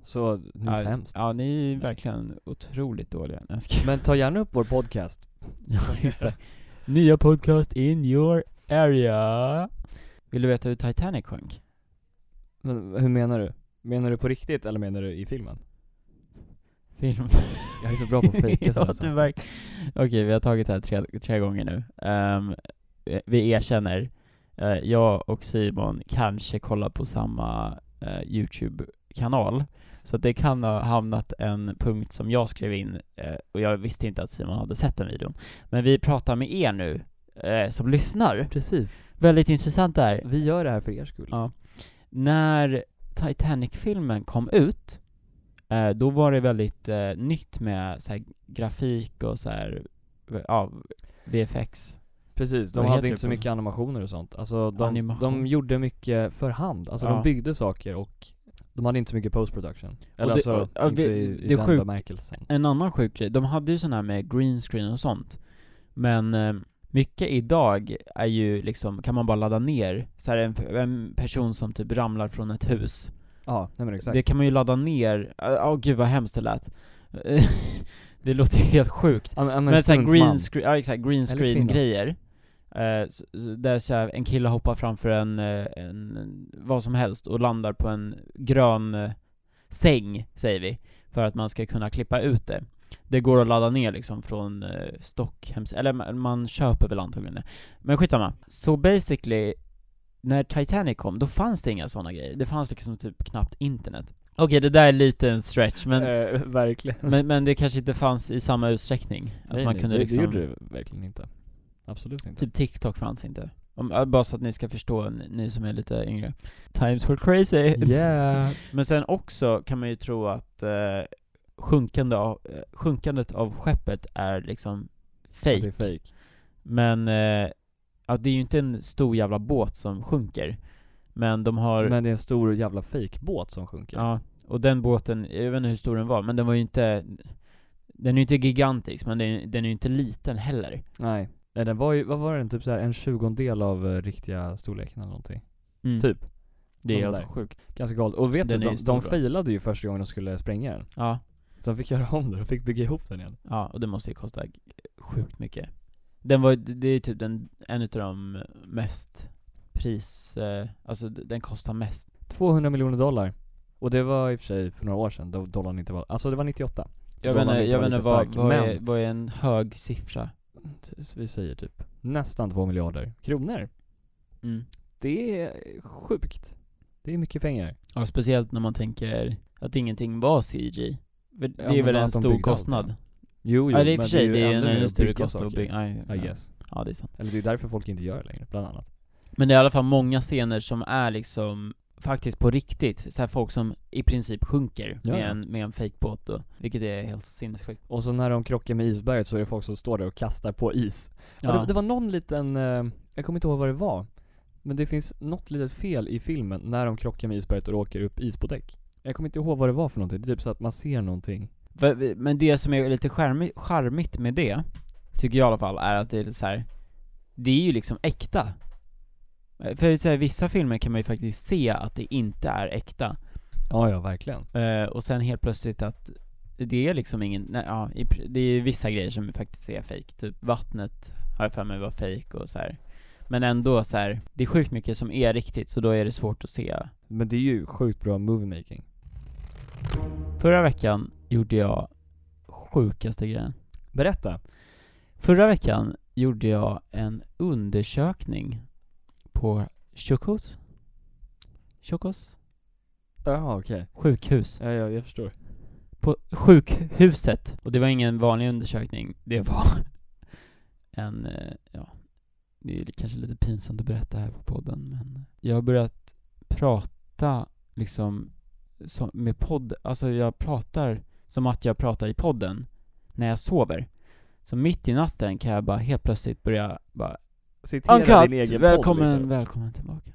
[SPEAKER 2] Så, nu är
[SPEAKER 1] ja,
[SPEAKER 2] det hemskt.
[SPEAKER 1] Ja, ni är verkligen otroligt dåliga. Nej, jag skojar.
[SPEAKER 2] Men ta gärna upp vår podcast.
[SPEAKER 1] Ja, exakt. Nya podcast in your area. Vill du veta hur Titanic sjönk?
[SPEAKER 2] Men hur menar du? Menar du på riktigt eller menar du i filmen?
[SPEAKER 1] Film.
[SPEAKER 2] Jag är så bra på att fejka
[SPEAKER 1] ja,
[SPEAKER 2] sådana
[SPEAKER 1] du
[SPEAKER 2] saker.
[SPEAKER 1] verk- Okej, vi har tagit det här tre, tre gånger nu. Ehm, vi- vi erkänner, eh, jag och Simon kanske kollar på samma eh, YouTube-kanal. Så att det kan ha hamnat en punkt som jag skrev in, eh, och jag visste inte att Simon hade sett den videon. Men vi pratar med er nu, eh, som lyssnar.
[SPEAKER 2] Precis.
[SPEAKER 1] Väldigt intressant det här.
[SPEAKER 2] Vi gör det här för er skull.
[SPEAKER 1] Ja. När Titanic-filmen kom ut, eh, då var det väldigt eh, nytt med så här, grafik och så här, v- ja, VFX.
[SPEAKER 2] Precis, de
[SPEAKER 1] Vad heter
[SPEAKER 2] hade
[SPEAKER 1] det
[SPEAKER 2] inte så
[SPEAKER 1] på-
[SPEAKER 2] mycket animationer och sånt. Alltså de,
[SPEAKER 1] Animation.
[SPEAKER 2] de gjorde mycket för hand. Alltså
[SPEAKER 1] Ja.
[SPEAKER 2] de byggde saker och de hade inte så mycket post production. Eller
[SPEAKER 1] det-
[SPEAKER 2] alltså,
[SPEAKER 1] och- och
[SPEAKER 2] inte
[SPEAKER 1] det-
[SPEAKER 2] i, i
[SPEAKER 1] det är
[SPEAKER 2] den
[SPEAKER 1] sjukt.
[SPEAKER 2] bemärkelsen.
[SPEAKER 1] En annan sjuk grej, de hade ju sån här med green screen och sånt, men eh, mycket idag är ju liksom, kan man bara ladda ner, så här en, en person som typ ramlar från ett hus,
[SPEAKER 2] Ja, nej men exakt.
[SPEAKER 1] Det kan man ju ladda ner, åh gud vad hemskt det lät. det låter ju helt sjukt.
[SPEAKER 2] Ja, men,
[SPEAKER 1] Men såhär green
[SPEAKER 2] screen.
[SPEAKER 1] screen, ja exakt, green
[SPEAKER 2] Eller
[SPEAKER 1] screen
[SPEAKER 2] kvinna.
[SPEAKER 1] grejer. Eh, s- s- där så här, en kille hoppar framför en, eh, en, en, vad som helst och landar på en grön eh, säng, säger vi. För att man ska kunna klippa ut det. Det går att ladda ner liksom från eh, Stockhems, eller ma- man köper väl antagligen det. Men skitsamma. Så basically, när Titanic kom, då fanns det inga sådana grejer. Det fanns liksom typ knappt internet. Okej, det där är lite en stretch, men
[SPEAKER 2] Eh, verkligen.
[SPEAKER 1] men, men det kanske inte fanns i samma utsträckning? Att
[SPEAKER 2] Mm. nej,
[SPEAKER 1] man
[SPEAKER 2] nej,
[SPEAKER 1] kunde
[SPEAKER 2] det,
[SPEAKER 1] liksom,
[SPEAKER 2] det gjorde det verkligen inte. Absolut inte.
[SPEAKER 1] typ TikTok fanns inte. Om, äh, bara så att ni ska förstå, ni, ni som är lite yngre. Times were crazy.
[SPEAKER 2] Yeah.
[SPEAKER 1] Men sen också kan man ju tro att eh, sjunkande av, eh, sjunkandet av skeppet är liksom
[SPEAKER 2] Att Det
[SPEAKER 1] fake.
[SPEAKER 2] är fake.
[SPEAKER 1] Men eh, ja, det är ju inte en stor jävla båt som sjunker. Men de har,
[SPEAKER 2] Men det är en stor jävla fake båt som sjunker.
[SPEAKER 1] ja, Och den båten, jag vet inte hur stor den var, men den var ju inte Den är ju inte gigantisk, men den, den är ju inte liten heller
[SPEAKER 2] Nej. Nej den var ju, vad var den? Typ såhär en tjugondel av eh, riktiga storleken eller någonting.
[SPEAKER 1] Mm.
[SPEAKER 2] Typ.
[SPEAKER 1] Det
[SPEAKER 2] något
[SPEAKER 1] är
[SPEAKER 2] sånt
[SPEAKER 1] alltså
[SPEAKER 2] där.
[SPEAKER 1] sjukt
[SPEAKER 2] Ganska galet. Och vet
[SPEAKER 1] Den
[SPEAKER 2] du,
[SPEAKER 1] är
[SPEAKER 2] de,
[SPEAKER 1] ju stor
[SPEAKER 2] de
[SPEAKER 1] då.
[SPEAKER 2] failade ju första gången de skulle spränga den.
[SPEAKER 1] Ja,
[SPEAKER 2] Så de fick göra om den, de fick bygga ihop den igen.
[SPEAKER 1] ja, och det måste ju kosta g- sjukt mycket Den var ju- det är typ den, en utav de mest pris, eh, alltså d- den kostar mest
[SPEAKER 2] 200 miljoner dollar. Och det var i och för sig för några år sedan då dollarn inte var, alltså det var 98.
[SPEAKER 1] Jag
[SPEAKER 2] Då
[SPEAKER 1] vet
[SPEAKER 2] var
[SPEAKER 1] inte,
[SPEAKER 2] den
[SPEAKER 1] jag vet
[SPEAKER 2] lite
[SPEAKER 1] inte vad,
[SPEAKER 2] stark,
[SPEAKER 1] vad, är,
[SPEAKER 2] men-
[SPEAKER 1] vad är en hög siffra?
[SPEAKER 2] Så Vi säger typ nästan 2 miljarder kronor.
[SPEAKER 1] Mm.
[SPEAKER 2] Det är sjukt. Det är mycket pengar.
[SPEAKER 1] Ja, speciellt när man tänker att ingenting var CG För Det
[SPEAKER 2] Ja,
[SPEAKER 1] är
[SPEAKER 2] men
[SPEAKER 1] väl
[SPEAKER 2] att
[SPEAKER 1] en
[SPEAKER 2] de
[SPEAKER 1] stor
[SPEAKER 2] byggde allt,
[SPEAKER 1] kostnad?
[SPEAKER 2] ja. Jo,
[SPEAKER 1] Ja, det är i och för sig, det är en
[SPEAKER 2] ju ännu mer
[SPEAKER 1] ännu
[SPEAKER 2] att
[SPEAKER 1] större
[SPEAKER 2] bygga
[SPEAKER 1] kostnad att
[SPEAKER 2] saker,
[SPEAKER 1] bygga, nej,
[SPEAKER 2] I
[SPEAKER 1] ja.
[SPEAKER 2] guess.
[SPEAKER 1] ja det är sant
[SPEAKER 2] Eller det är därför folk inte gör det längre, bland annat.
[SPEAKER 1] Men det är i alla fall många scener som är liksom faktiskt på riktigt, så här folk som i princip sjunker
[SPEAKER 2] Ja, ja.
[SPEAKER 1] med en, med en fejkbåt då, vilket är helt sinnessjukt
[SPEAKER 2] Och så när de krockar med isberget så är det folk som står där och kastar på is. Ja.
[SPEAKER 1] ja.
[SPEAKER 2] det, det var någon liten, eh, jag kommer inte ihåg vad det var. Men det finns något litet fel i filmen när de krockar med isberget och det åker upp is på däck. Jag kommer inte ihåg vad det var för någonting, det är typ så att man ser någonting.
[SPEAKER 1] Va- eh, Men det som är lite charmi- charmigt med det, tycker jag i alla fall, är att det är så här. det är ju liksom äkta Eh, För så här, vissa filmer kan man ju faktiskt se att det inte är äkta
[SPEAKER 2] Ja, ja verkligen.
[SPEAKER 1] Eh, och sen helt plötsligt att det är liksom ingen, nej, ja, i pr- det är ju vissa grejer som faktiskt är fake typ vattnet har jag för mig var fake och så här. Men ändå så här, det är sjukt mycket som är riktigt så då är det svårt att se.
[SPEAKER 2] Men det är ju sjukt bra moviemaking.
[SPEAKER 1] Förra veckan gjorde jag sjukaste grejen.
[SPEAKER 2] Berätta!
[SPEAKER 1] Förra veckan gjorde jag en undersökning på Chocos, Chocos
[SPEAKER 2] Jaha okej.
[SPEAKER 1] sjukhus.
[SPEAKER 2] Ja, ja, jag förstår.
[SPEAKER 1] på sjukhuset. Och det var ingen vanlig undersökning, det var en, eh, ja, det är kanske lite pinsamt att berätta här på podden men jag har börjat prata liksom som, med podd, alltså jag pratar som att jag pratar i podden när jag sover. Så mitt i natten kan jag bara helt plötsligt börja bara
[SPEAKER 2] Citera
[SPEAKER 1] Uncut! Välkommen,
[SPEAKER 2] liksom.
[SPEAKER 1] välkommen tillbaka.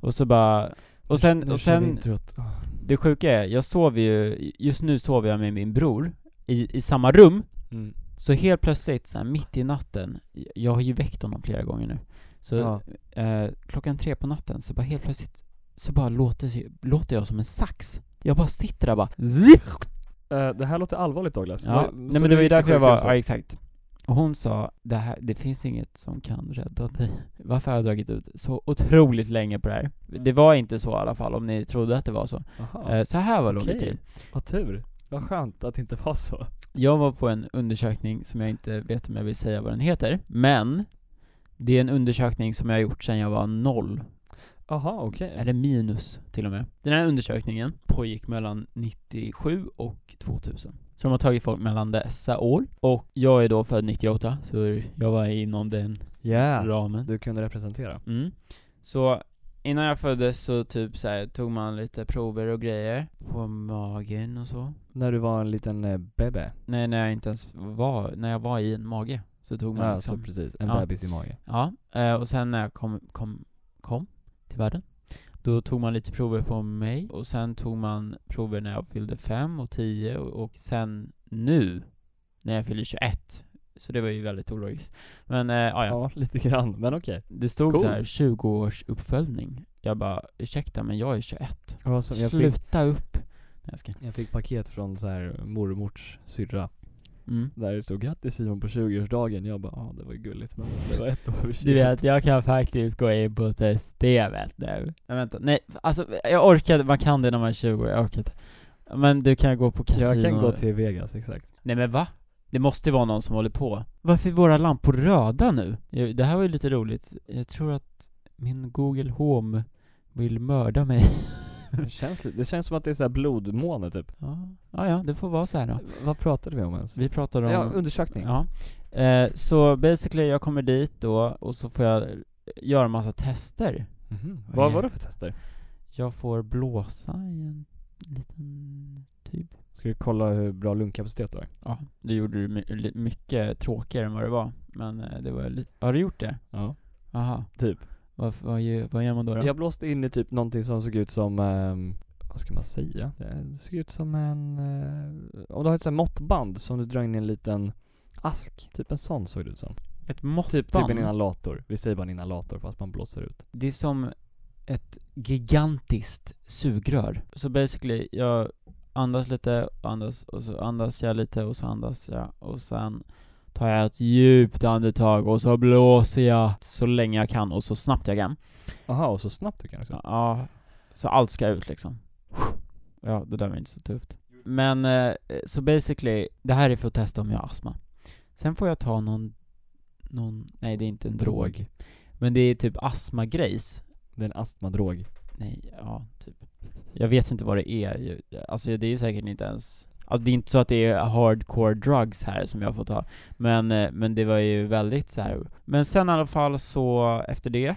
[SPEAKER 1] Och så bara, och sen, och sen
[SPEAKER 2] Ah.
[SPEAKER 1] det sjuka är, jag sover ju, just nu sover jag med min bror i, i samma rum,
[SPEAKER 2] Mm.
[SPEAKER 1] så helt plötsligt så här, mitt i natten, jag har ju väckt honom flera gånger nu, så
[SPEAKER 2] Ja.
[SPEAKER 1] eh, klockan tre på natten så bara helt plötsligt så bara låter, låter jag som en sax. Jag bara sitter där bara zip.
[SPEAKER 2] Eh, det här låter allvarligt Douglas.
[SPEAKER 1] Ja,
[SPEAKER 2] Alltså, Vad- så
[SPEAKER 1] nej men det var ju
[SPEAKER 2] gick till
[SPEAKER 1] därför jag var,
[SPEAKER 2] sjukhuset.
[SPEAKER 1] ja exakt. Och hon sa, det här, det finns inget som kan rädda dig. Varför har jag dragit ut så otroligt länge på det här? Det var inte så i alla fall, om ni trodde att det var så.
[SPEAKER 2] Jaha.
[SPEAKER 1] Eh, så här var det
[SPEAKER 2] Okej.
[SPEAKER 1] okay. till.
[SPEAKER 2] Vad tur. Vad skönt att det inte var så.
[SPEAKER 1] Jag var på en undersökning som jag inte vet om jag vill säga vad den heter, men det är en undersökning som jag har gjort sedan jag var noll,
[SPEAKER 2] Jaha, okej.
[SPEAKER 1] eller minus till och med. Den här undersökningen pågick mellan 97 och 2000. Så de har tagit folk mellan dessa år, och jag är då född 98, så jag var inom den
[SPEAKER 2] Yeah.
[SPEAKER 1] ramen.
[SPEAKER 2] Du kunde representera.
[SPEAKER 1] Mm. Så innan jag föddes så typ så här, tog man lite prover och grejer på magen och så.
[SPEAKER 2] När du var en liten eh, bebe.
[SPEAKER 1] Nej, när jag inte ens var, när jag var i en mage så tog man
[SPEAKER 2] Ja,
[SPEAKER 1] liksom
[SPEAKER 2] så precis. En
[SPEAKER 1] Ja.
[SPEAKER 2] bebis i magen.
[SPEAKER 1] Ja, eh, och sen när jag kom, kom, kom till världen Då tog man lite prover på mig och sen tog man prover när jag fyllde fem och tio och, och sen nu när jag fyllde 21 Så det var ju väldigt ologiskt Men eh, ja,
[SPEAKER 2] Ja,
[SPEAKER 1] ja.
[SPEAKER 2] lite grann. Men okej.
[SPEAKER 1] Det stod
[SPEAKER 2] Coolt.
[SPEAKER 1] så här 20 års uppföljning Jag bara, ursäkta men jag är 21
[SPEAKER 2] Det var som- Jag, fick,
[SPEAKER 1] Sluta upp! Nej, jag ska inte.
[SPEAKER 2] jag fick paket från så här mormors syrra.
[SPEAKER 1] Mm.
[SPEAKER 2] Där det stod grattis Simon på 20-årsdagen. Jag bara, ja det var ju gulligt men det var ett år för
[SPEAKER 1] Du vet, jag kan faktiskt gå in på systemet nu. Nej vänta, nej alltså jag orkar man kan det när man är 20, jag orkar inte. Men du kan gå på kasino.
[SPEAKER 2] Jag kan gå till Vegas, exakt.
[SPEAKER 1] Nej men va? Det måste ju vara någon som håller på. Varför är våra lampor röda nu? Jag- Det här var ju lite roligt. Jag tror att min Google Home vill mörda mig.
[SPEAKER 2] Det känns, lite- det känns som att det är så här blodmåne typ.
[SPEAKER 1] ja, ja, ja det får vara så här då.
[SPEAKER 2] Vad pratade vi om Mhm. ens?
[SPEAKER 1] Vi pratar om...
[SPEAKER 2] Ja, undersökning.
[SPEAKER 1] Ja. Eh, så basically, jag kommer dit då och så får jag eh, göra massa tester.
[SPEAKER 2] Mhm.
[SPEAKER 1] Vad
[SPEAKER 2] Vad
[SPEAKER 1] är-
[SPEAKER 2] var det för tester?
[SPEAKER 1] Jag får blåsa i en liten tub.
[SPEAKER 2] Ska du kolla hur bra lungkapacitet du har?
[SPEAKER 1] Ja, det gjorde du my- li- mycket tråkigare än vad det var. Men eh, det var lite... Har du gjort det?
[SPEAKER 2] Ja.
[SPEAKER 1] Aha.
[SPEAKER 2] Typ.
[SPEAKER 1] Vad, vad, gör- vad gör man då? då?
[SPEAKER 2] Jag blåste in i typ någonting som såg ut som, ehm, vad ska man säga? Eh, Det ser ut som en, eh, om du har ett sånt här måttband som du drar in i en liten ask, typ en sån såg det ut som.
[SPEAKER 1] Ett
[SPEAKER 2] Typ,
[SPEAKER 1] måttband?
[SPEAKER 2] typ en inhalator, vi säger bara en inhalator fast man blåser ut.
[SPEAKER 1] Det är som ett gigantiskt sugrör. Så basically, jag andas lite, andas, och så andas jag lite och så andas jag och sen tar jag ett djupt andetag och så blåser jag så länge jag kan och så snabbt jag kan.
[SPEAKER 2] Aha, och så snabbt du kan också.
[SPEAKER 1] Ja, så allt ska ut liksom. Ja, det där var inte så tufft. Men, eh, så basically, det här är för att testa om jag har astma. Sen får jag ta någon, någon, nej det är inte en drog.
[SPEAKER 2] Drog.
[SPEAKER 1] Men det är typ astmagrejs.
[SPEAKER 2] Det är en astmadrog.
[SPEAKER 1] Nej, ja, typ. Jag vet inte vad det är ju. Alltså det är säkert inte ens, alltså det är inte så att det är hardcore drugs här som jag får ta. Men, eh, men det var ju väldigt så här. Men sen i alla fall så, efter det,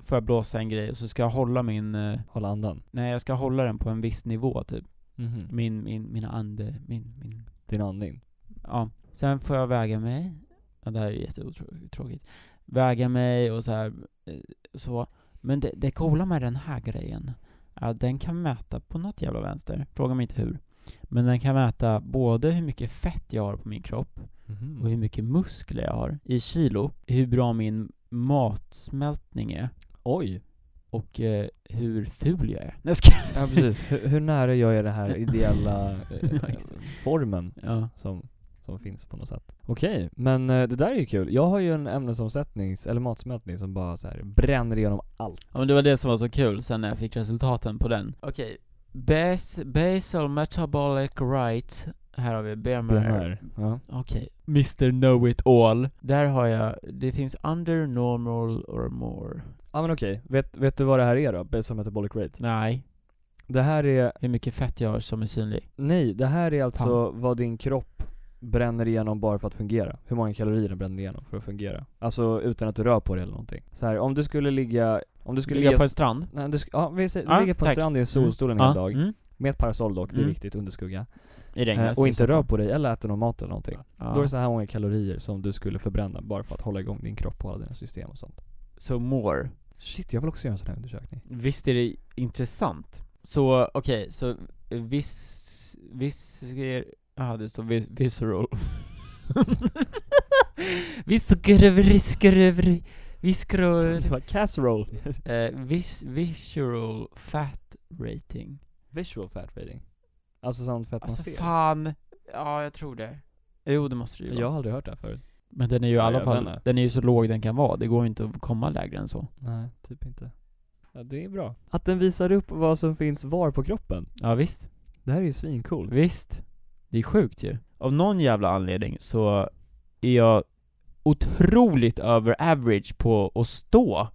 [SPEAKER 1] får jag blåsa en grej och så ska jag hålla min, eh,
[SPEAKER 2] Hålla andan.
[SPEAKER 1] nej jag ska hålla den på en viss nivå typ.
[SPEAKER 2] mm
[SPEAKER 1] Min, min, mina ande, min, min
[SPEAKER 2] Din andning.
[SPEAKER 1] Ja. Sen får jag väga mig. Ja, det här är ju jättetråkigt. Väga mig och så här, eh, så. Men det, det coola med den här grejen är att den kan mäta på något jävla vänster. Fråga mig inte hur. Men den kan mäta både hur mycket fett jag har på min kropp och hur mycket muskler jag har i kilo. Hur bra min matsmältning är
[SPEAKER 2] Oj!
[SPEAKER 1] och eh, hur ful jag är. Nej, jag skojar.
[SPEAKER 2] Ja precis, hur, hur nära gör jag den här ideala
[SPEAKER 1] Ja,
[SPEAKER 2] eh,
[SPEAKER 1] exakt.
[SPEAKER 2] formen
[SPEAKER 1] Ja.
[SPEAKER 2] s- som, som finns på något sätt? Okej, men eh, det där är ju kul. Jag har ju en ämnesomsättning, eller matsmältning som bara så här bränner igenom allt.
[SPEAKER 1] Ja men det var det som var så kul sen när jag fick resultaten på den. Okej. Bas, basal metabolic right. Här har vi BMR.
[SPEAKER 2] BMR. Ja.
[SPEAKER 1] Okej. Mr know it all. Där har jag, det finns under normal or more.
[SPEAKER 2] ja men okej, vet, vet du vad det här är då? Basal metabolic rate?
[SPEAKER 1] Nej.
[SPEAKER 2] Det här är,
[SPEAKER 1] Hur mycket fett jag har som är synlig.
[SPEAKER 2] nej, det här är alltså vad din kropp bränner igenom bara för att fungera. Hur många kalorier den bränner igenom för att fungera. Alltså utan att du rör på dig eller någonting. Så här, om du skulle ligga, om du skulle
[SPEAKER 1] Skulle ligga
[SPEAKER 2] ge
[SPEAKER 1] på
[SPEAKER 2] s-
[SPEAKER 1] en strand.
[SPEAKER 2] Nej, du, sk- ja, vi säger,
[SPEAKER 1] Ja,
[SPEAKER 2] du ligger på en
[SPEAKER 1] tack.
[SPEAKER 2] strand i en solstol en hel
[SPEAKER 1] Ja,
[SPEAKER 2] dag,
[SPEAKER 1] Mm.
[SPEAKER 2] med ett parasoll dock, det är
[SPEAKER 1] Mm.
[SPEAKER 2] viktigt, under skugga.
[SPEAKER 1] I
[SPEAKER 2] Eh,
[SPEAKER 1] regnet.
[SPEAKER 2] och inte rör på dig eller äter någon mat eller någonting.
[SPEAKER 1] Ja.
[SPEAKER 2] Då är det så här många kalorier som du skulle förbränna bara för att hålla igång din kropp och alla dina system och sånt.
[SPEAKER 1] So more.
[SPEAKER 2] Shit, jag vill också göra en sån här undersökning.
[SPEAKER 1] Visst är det intressant? Så okej, så viss, viss, jaha det står vis, visceral Viskrövri, viskrövri, viskrövri
[SPEAKER 2] var casserole.
[SPEAKER 1] eh, vis, Visceral fat rating
[SPEAKER 2] Visual fat rating. Alltså sånt fett man
[SPEAKER 1] Alltså
[SPEAKER 2] ser.
[SPEAKER 1] fan, ja jag tror det Jo det måste det ju
[SPEAKER 2] Jag
[SPEAKER 1] vara
[SPEAKER 2] har aldrig hört det här förut.
[SPEAKER 1] Men den är ju i
[SPEAKER 2] Ja,
[SPEAKER 1] alla
[SPEAKER 2] jag vet
[SPEAKER 1] fall,
[SPEAKER 2] inte.
[SPEAKER 1] den är ju så låg den kan vara, det går ju inte att komma lägre än så
[SPEAKER 2] Nej, typ inte. Ja, det är bra. Att den visar upp vad som finns var på kroppen.
[SPEAKER 1] Ja visst
[SPEAKER 2] Det här är ju svincoolt.
[SPEAKER 1] Visst. Det är sjukt ju. Av någon jävla anledning så är jag otroligt över average på att stå.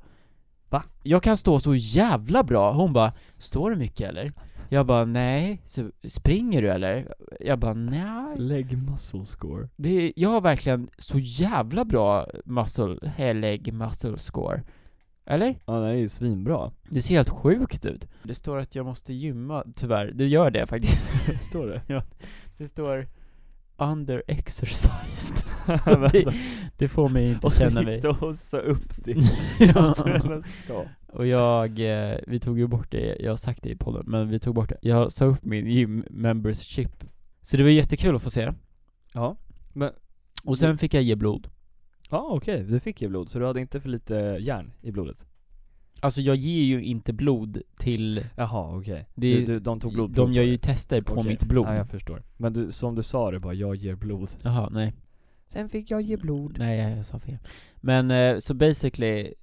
[SPEAKER 2] Va?
[SPEAKER 1] Jag kan stå så jävla bra. Hon bara, står du mycket eller? Jag bara, nej. Så, springer du eller? Jag bara, nej.
[SPEAKER 2] Leg muscle score.
[SPEAKER 1] Det är, jag har verkligen så jävla bra muscle, helig muscle score. Eller?
[SPEAKER 2] Ja, det här är ju svinbra.
[SPEAKER 1] Det ser helt sjukt ut. Det står att jag måste gymma, tyvärr. Det gör det faktiskt.
[SPEAKER 2] Står det?
[SPEAKER 1] Det står under exercised. det, det får mig inte känna mig.
[SPEAKER 2] och sa upp det.
[SPEAKER 1] och jag, eh, vi tog ju bort det, jag har sagt det i podden, men vi tog bort det. Jag sa upp min gym membership. Så det var jättekul att få se.
[SPEAKER 2] Ja, men-
[SPEAKER 1] Och
[SPEAKER 2] Mm.
[SPEAKER 1] sen fick jag ge blod.
[SPEAKER 2] Ja okej, du fick ju blod så du hade inte för lite järn i blodet?
[SPEAKER 1] Alltså jag ger ju inte blod till,
[SPEAKER 2] Jaha okej,
[SPEAKER 1] Det-
[SPEAKER 2] Du- du- de tog blod
[SPEAKER 1] de gör ju tester på mitt blod.
[SPEAKER 2] Ja jag förstår. Men du, som du sa det bara, jag ger blod.
[SPEAKER 1] Jaha, nej.
[SPEAKER 2] Sen fick jag ge blod.
[SPEAKER 1] Nej, jag, jag sa fel. Men eh, så basically,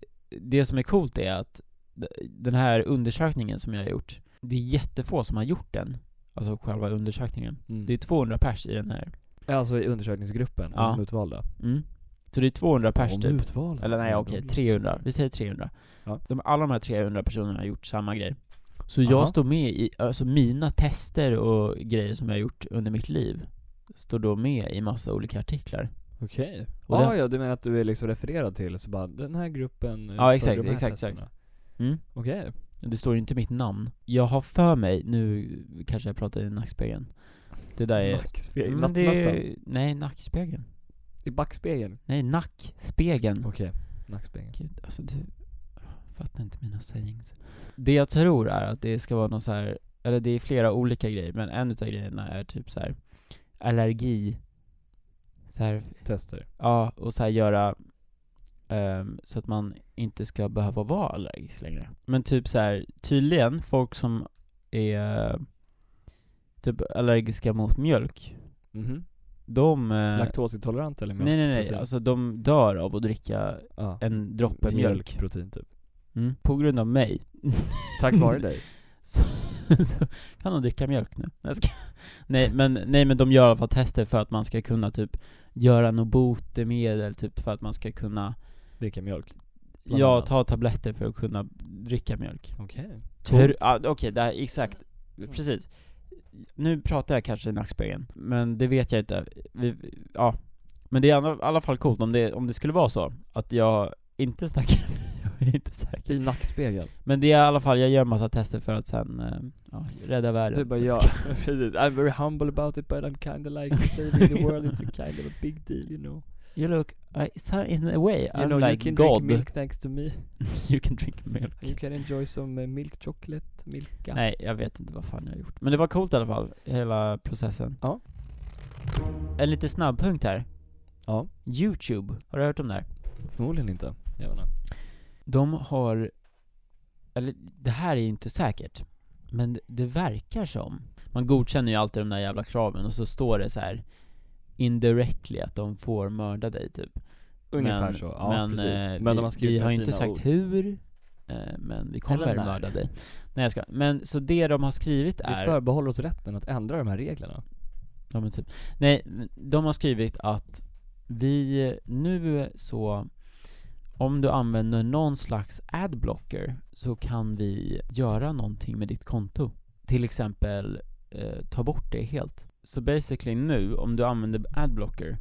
[SPEAKER 1] det som är coolt är att d- den här undersökningen som jag har gjort, det är jättefå som har gjort den. Alltså själva undersökningen.
[SPEAKER 2] Mm.
[SPEAKER 1] Det är 200 pers i den här.
[SPEAKER 2] Alltså i undersökningsgruppen,
[SPEAKER 1] Ja.
[SPEAKER 2] de utvalda.
[SPEAKER 1] Mm. Så det är 200 pers
[SPEAKER 2] de
[SPEAKER 1] typ.
[SPEAKER 2] utvalda.
[SPEAKER 1] Eller nej,
[SPEAKER 2] Ja,
[SPEAKER 1] okej,
[SPEAKER 2] de-
[SPEAKER 1] 300. Vi säger 300.
[SPEAKER 2] Ja.
[SPEAKER 1] De, alla de här 300 personerna har gjort samma grej. Så
[SPEAKER 2] Aha.
[SPEAKER 1] jag står med i, alltså mina tester och grejer som jag har gjort under mitt liv, står då med i massa olika artiklar.
[SPEAKER 2] Okej.
[SPEAKER 1] Och
[SPEAKER 2] Ja,
[SPEAKER 1] det-
[SPEAKER 2] ja, du menar att du är liksom refererad till, så bara den här gruppen
[SPEAKER 1] Ja,
[SPEAKER 2] utförde
[SPEAKER 1] exakt,
[SPEAKER 2] de här
[SPEAKER 1] exakt,
[SPEAKER 2] testerna.
[SPEAKER 1] exakt. Mm.
[SPEAKER 2] Okej.
[SPEAKER 1] Det står ju inte mitt namn. Jag har för mig, nu kanske jag pratar i nackspegeln. Det där är...
[SPEAKER 2] Nackspegel,
[SPEAKER 1] Men det
[SPEAKER 2] nattmössan.
[SPEAKER 1] är nej, nackspegeln.
[SPEAKER 2] I backspegeln.
[SPEAKER 1] Nej, nackspegeln.
[SPEAKER 2] Okej, nackspegeln.
[SPEAKER 1] Gud, alltså du fattar inte mina sayings. Det jag tror är att det ska vara någon så här eller det är flera olika grejer, men en utav grejerna är typ så här allergi, så här,
[SPEAKER 2] Tester.
[SPEAKER 1] ja, och så här göra ehm, så att man inte ska behöva vara allergisk längre. Men typ så här, tydligen folk som är eh, typ allergiska mot mjölk,
[SPEAKER 2] Mhm.
[SPEAKER 1] de... eh,
[SPEAKER 2] Laktosintolerant eller
[SPEAKER 1] nej nej nej,
[SPEAKER 2] mjölkprotein?
[SPEAKER 1] alltså de dör av att dricka
[SPEAKER 2] ja.
[SPEAKER 1] en droppe mjölk.
[SPEAKER 2] Mjölkprotein typ.
[SPEAKER 1] Mm. På grund av mig
[SPEAKER 2] Tack vare dig.
[SPEAKER 1] så, så kan de dricka mjölk nu. Jag ska, nej, men, nej men de gör i alla fall tester för att man ska kunna typ göra något botemedel typ för att man ska kunna,
[SPEAKER 2] Dricka mjölk. Bland
[SPEAKER 1] ja
[SPEAKER 2] annat.
[SPEAKER 1] ta tabletter för att kunna dricka mjölk.
[SPEAKER 2] Okej.
[SPEAKER 1] Hur, ja, okej, det här, exakt, precis. Nu pratar jag kanske i nackspegeln, men det vet jag inte. Vi, ja. Men det är i alla- i alla fall coolt om det, om det skulle vara så, att jag inte snackar, jag är inte säker.
[SPEAKER 2] I nackspegeln.
[SPEAKER 1] Men det är i alla fall, jag gör massa tester för att sen, eh, ja, rädda världen.
[SPEAKER 2] Du bara ja, precis. I'm very humble about it but I'm kinda like saving the world, it's a kind of a big deal you know.
[SPEAKER 1] You look, I, so in a way,
[SPEAKER 2] You
[SPEAKER 1] I'm
[SPEAKER 2] know you
[SPEAKER 1] like
[SPEAKER 2] can
[SPEAKER 1] God.
[SPEAKER 2] drink milk thanks to me.
[SPEAKER 1] you can drink milk.
[SPEAKER 2] You can enjoy some uh, milk chocolate, milka.
[SPEAKER 1] Nej, jag vet inte vad fan jag har gjort. Men det var coolt i alla fall, hela processen.
[SPEAKER 2] Ja.
[SPEAKER 1] En lite snabbpunkt här.
[SPEAKER 2] Ja.
[SPEAKER 1] Youtube, har du hört om det här?
[SPEAKER 2] Förmodligen inte. Jävlarna.
[SPEAKER 1] De har, eller det här är ju inte säkert, men det, det verkar som, man godkänner ju alltid de där jävla kraven och så står det så här indirectly att de får mörda dig typ.
[SPEAKER 2] Ungefär
[SPEAKER 1] men,
[SPEAKER 2] så, ja
[SPEAKER 1] men,
[SPEAKER 2] precis.
[SPEAKER 1] eh,
[SPEAKER 2] men
[SPEAKER 1] vi,
[SPEAKER 2] de har skrivit
[SPEAKER 1] vi har
[SPEAKER 2] med
[SPEAKER 1] ju inte
[SPEAKER 2] fina
[SPEAKER 1] sagt
[SPEAKER 2] ord.
[SPEAKER 1] hur, eh, men vi kommer
[SPEAKER 2] Eller när.
[SPEAKER 1] mörda dig. Nej jag ska. Men så det de har skrivit är...
[SPEAKER 2] Vi förbehåller oss rätten att ändra de här reglerna.
[SPEAKER 1] Ja men typ. Nej, de har skrivit att vi nu så, om du använder någon slags adblocker så kan vi göra någonting med ditt konto. Till exempel eh, ta bort det helt. Så basically nu, om du använder adblocker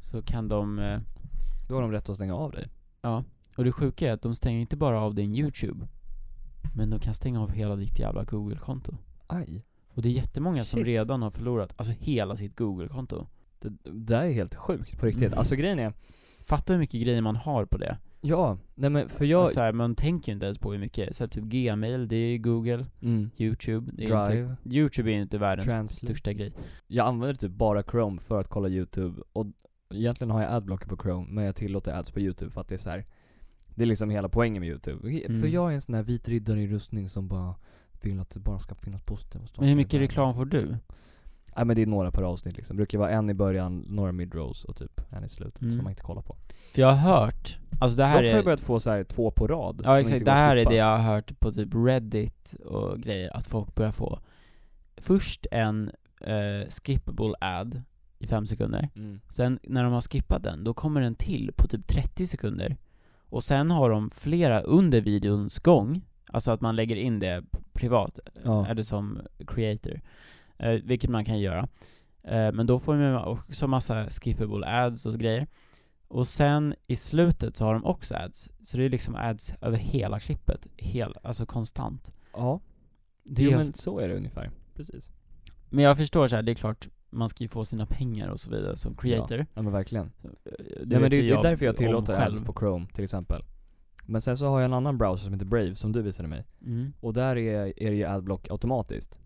[SPEAKER 1] så kan de eh,
[SPEAKER 2] Då har de rätt att stänga av dig.
[SPEAKER 1] Ja, och det sjuka är att de stänger inte bara av din YouTube Men de kan stänga av hela ditt jävla Google-konto
[SPEAKER 2] Aj.
[SPEAKER 1] Och det är jättemånga som
[SPEAKER 2] Shit.
[SPEAKER 1] redan har förlorat, alltså hela sitt Google-konto
[SPEAKER 2] Det, det där är helt sjukt på riktigt.
[SPEAKER 1] Mm.
[SPEAKER 2] Alltså grejen är,
[SPEAKER 1] Fatta hur mycket grejer man har på det Alltså
[SPEAKER 2] ja, nej men för jag...
[SPEAKER 1] så här, Man tänker ju inte ens på hur mycket, så här, typ Gmail, det är ju Google,
[SPEAKER 2] mm,
[SPEAKER 1] YouTube det är Inte,
[SPEAKER 2] drive,
[SPEAKER 1] YouTube är ju inte världens
[SPEAKER 2] translate.
[SPEAKER 1] största grej
[SPEAKER 2] Jag använder typ bara Chrome för att kolla YouTube och egentligen har jag adblocker på Chrome men jag tillåter ads på YouTube för att det är så här. Det är liksom hela poängen med YouTube.
[SPEAKER 1] Mm.
[SPEAKER 2] För jag är en sån här vit riddare i rustning som bara vill att det bara ska finnas positiva saker
[SPEAKER 1] Men hur
[SPEAKER 2] i
[SPEAKER 1] mycket
[SPEAKER 2] världen.
[SPEAKER 1] reklam får du?
[SPEAKER 2] Nej men det är några per avsnitt liksom. Det brukar vara en i början, några mid-rolls och typ en i slutet
[SPEAKER 1] Mm.
[SPEAKER 2] som man inte kollar på.
[SPEAKER 1] För jag har hört, alltså det
[SPEAKER 2] De
[SPEAKER 1] här
[SPEAKER 2] har
[SPEAKER 1] är
[SPEAKER 2] ju börjat få så här två på rad. som
[SPEAKER 1] Ja
[SPEAKER 2] inte
[SPEAKER 1] exakt,
[SPEAKER 2] går
[SPEAKER 1] det
[SPEAKER 2] att
[SPEAKER 1] här är
[SPEAKER 2] skippa.
[SPEAKER 1] det jag har hört på typ Reddit och grejer, att folk börjar få Först en eh, skippable ad i fem sekunder,
[SPEAKER 2] Mm.
[SPEAKER 1] sen när de har skippat den, då kommer den till på typ 30 sekunder Och sen har de flera under videons gång, alltså att man lägger in det privat,
[SPEAKER 2] Ja.
[SPEAKER 1] eller som creator eh, Vilket man kan göra eh, Men då får man också massa skippable ads och grejer Och sen i slutet så har de också ads Så det är liksom ads över hela klippet, hel, alltså konstant
[SPEAKER 2] Ja,
[SPEAKER 1] det är
[SPEAKER 2] jo,
[SPEAKER 1] helt-
[SPEAKER 2] men så är det ungefär. Precis.
[SPEAKER 1] Men jag förstår så här, det är klart man ska ju få sina pengar och så vidare som creator
[SPEAKER 2] Ja men verkligen.
[SPEAKER 1] Det
[SPEAKER 2] Nej, men
[SPEAKER 1] vet
[SPEAKER 2] det,
[SPEAKER 1] ju
[SPEAKER 2] det är därför jag
[SPEAKER 1] om
[SPEAKER 2] tillåter ads
[SPEAKER 1] själv.
[SPEAKER 2] på Chrome till exempel. Men sen så har jag en annan browser som heter Brave som du visade mig.
[SPEAKER 1] mm.
[SPEAKER 2] Och där är, är det ju adblock automatiskt.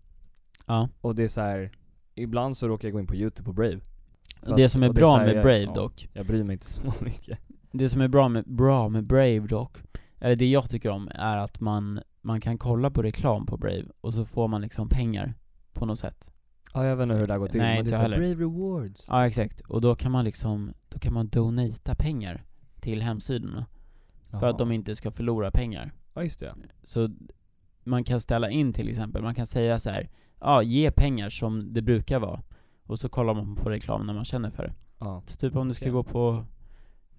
[SPEAKER 1] Ja,
[SPEAKER 2] Och det är så här. ibland så råkar jag gå in på YouTube på Brave. För
[SPEAKER 1] det
[SPEAKER 2] att-
[SPEAKER 1] som är
[SPEAKER 2] och det
[SPEAKER 1] bra
[SPEAKER 2] så här
[SPEAKER 1] med
[SPEAKER 2] jag-
[SPEAKER 1] Brave
[SPEAKER 2] ja.
[SPEAKER 1] dock
[SPEAKER 2] Jag bryr mig inte så mycket.
[SPEAKER 1] Det som är bra med, bra med Brave dock, eller det jag tycker om, är att man, man kan kolla på reklam på Brave och så får man liksom pengar på något sätt.
[SPEAKER 2] Ja jag vet inte hur det där går till.
[SPEAKER 1] Nej,
[SPEAKER 2] men
[SPEAKER 1] inte
[SPEAKER 2] det är
[SPEAKER 1] jag
[SPEAKER 2] så här,
[SPEAKER 1] heller.
[SPEAKER 2] Brave Rewards.
[SPEAKER 1] Ja exakt, och då kan man liksom, då kan man donata pengar till hemsidorna för
[SPEAKER 2] Jaha.
[SPEAKER 1] att de inte ska förlora pengar.
[SPEAKER 2] Ja just det.
[SPEAKER 1] Så man kan ställa in till exempel, man kan säga så här, ja ge pengar som det brukar vara. Och så kollar man på reklam när man känner för det.
[SPEAKER 2] Ja.
[SPEAKER 1] Så typ om du ska
[SPEAKER 2] Okej.
[SPEAKER 1] gå på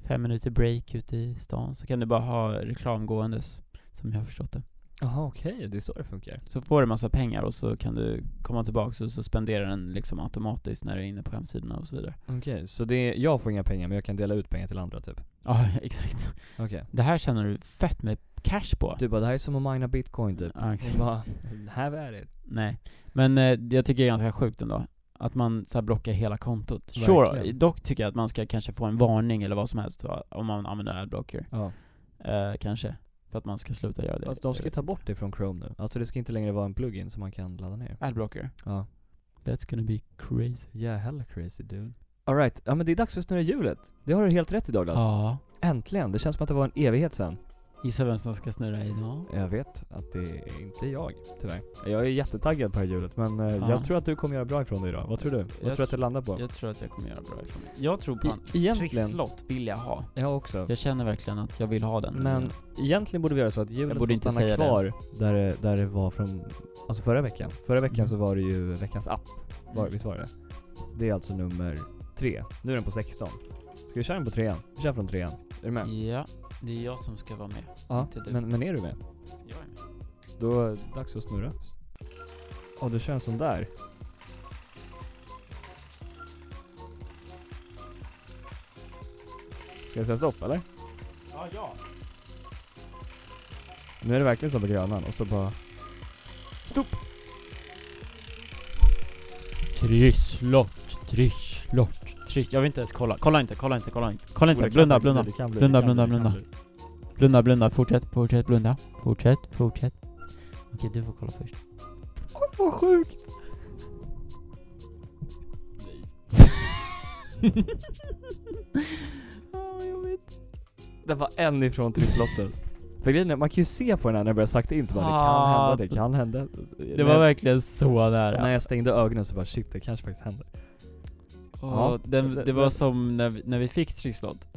[SPEAKER 1] fem minuter break ute i stan så kan du bara ha reklam gåendes, som jag har förstått det.
[SPEAKER 2] Jaha okej, det är så det funkar.
[SPEAKER 1] Så får du massa pengar och så kan du komma tillbaka och så spenderar den liksom automatiskt när du är inne på hemsidorna och så vidare.
[SPEAKER 2] Okej, så det är, jag får inga pengar men jag kan dela ut pengar till andra typ.
[SPEAKER 1] Ja, exakt.
[SPEAKER 2] Okej.
[SPEAKER 1] Det här tjänar du fett med cash på.
[SPEAKER 2] Du bara, det här är som att mina bitcoin typ.
[SPEAKER 1] Ja,
[SPEAKER 2] Jag
[SPEAKER 1] exakt.
[SPEAKER 2] bara, have at it.
[SPEAKER 1] Nej. Men eh, jag tycker det är ganska sjukt ändå. Att man så här blockar hela kontot. Sure,
[SPEAKER 2] Verkligen.
[SPEAKER 1] dock tycker jag att man ska kanske få en varning eller vad som helst va, om man använder adblocker.
[SPEAKER 2] Ja.
[SPEAKER 1] Eh, kanske. För att man ska sluta göra det.
[SPEAKER 2] Fast Alltså, de
[SPEAKER 1] Jag
[SPEAKER 2] ska
[SPEAKER 1] vet
[SPEAKER 2] ta
[SPEAKER 1] inte.
[SPEAKER 2] bort det från Chrome nu. Alltså det ska inte längre vara en plugin som man kan ladda ner.
[SPEAKER 1] Adblocker.
[SPEAKER 2] Ja.
[SPEAKER 1] That's gonna be crazy.
[SPEAKER 2] Yeah, hella crazy dude. Alright, ja men det är dags för snurra hjulet. Det har du helt rätt i Douglas.
[SPEAKER 1] Ja.
[SPEAKER 2] Äntligen, det känns som att det var en evighet sen.
[SPEAKER 1] Gissa vem som ska snurra idag?
[SPEAKER 2] Jag vet att det är inte jag, tyvärr. Jag är jättetaggad på det här hjulet men eh,
[SPEAKER 1] Ja.
[SPEAKER 2] jag tror att du kommer göra bra ifrån dig idag. Vad tror du? Vad tror
[SPEAKER 1] Jag
[SPEAKER 2] du att det landar på?
[SPEAKER 1] Jag tror att jag kommer göra bra ifrån mig. Jag tror på han.
[SPEAKER 2] E- egentligen,
[SPEAKER 1] Trisslott vill jag ha.
[SPEAKER 2] jag också.
[SPEAKER 1] Jag känner verkligen att jag vill ha den.
[SPEAKER 2] Men egentligen borde vi göra så att
[SPEAKER 1] borde
[SPEAKER 2] hjulet får
[SPEAKER 1] inte
[SPEAKER 2] stanna
[SPEAKER 1] säga det.
[SPEAKER 2] kvar där det, där det var från, alltså förra veckan. Förra veckan
[SPEAKER 1] Mm.
[SPEAKER 2] så var det ju veckans app, var, visst var det? Det är alltså nummer tre. Nu är den på 16. Ska vi köra den på trean? Vi kör från trean. Är du med?
[SPEAKER 1] Ja, det är jag som ska vara med.
[SPEAKER 2] Ja,
[SPEAKER 1] inte du.
[SPEAKER 2] men, men är du med?
[SPEAKER 1] Jag är med.
[SPEAKER 2] Då är det dags att snurra. Ja, du kör en sån där. Ska jag säga stopp eller?
[SPEAKER 3] Ja, ja.
[SPEAKER 2] Nu är det verkligen som på Grönan och så bara... Stopp!
[SPEAKER 1] Trisslott, trisslott, trisslott. Jag vill inte ens kolla. Kolla inte, kolla inte, kolla inte. Kolla
[SPEAKER 2] Oh,
[SPEAKER 1] inte,
[SPEAKER 2] det kan
[SPEAKER 1] blunda,
[SPEAKER 2] faktiskt
[SPEAKER 1] blunda.
[SPEAKER 2] bli, det kan bli, det
[SPEAKER 1] Blunda,
[SPEAKER 2] kan bli,
[SPEAKER 1] blunda,
[SPEAKER 2] det kan
[SPEAKER 1] blunda.
[SPEAKER 2] bli.
[SPEAKER 1] Blunda, blunda, fortsätt, fortsätt blunda. Fortsätt, fortsätt. Okej, du får kolla först.
[SPEAKER 2] Vad sjukt! Den var en ifrån trisslotten. För grejen är, man kan ju se på den här när jag börjar sakta in så bara
[SPEAKER 1] Ah.
[SPEAKER 2] det kan hända, det kan hända.
[SPEAKER 1] Det var verkligen så nära.
[SPEAKER 2] När jag stängde ögonen så bara shit, det kanske faktiskt händer.
[SPEAKER 1] Åh,
[SPEAKER 2] Ja.
[SPEAKER 1] den, det var som när vi, när vi fick trisslott.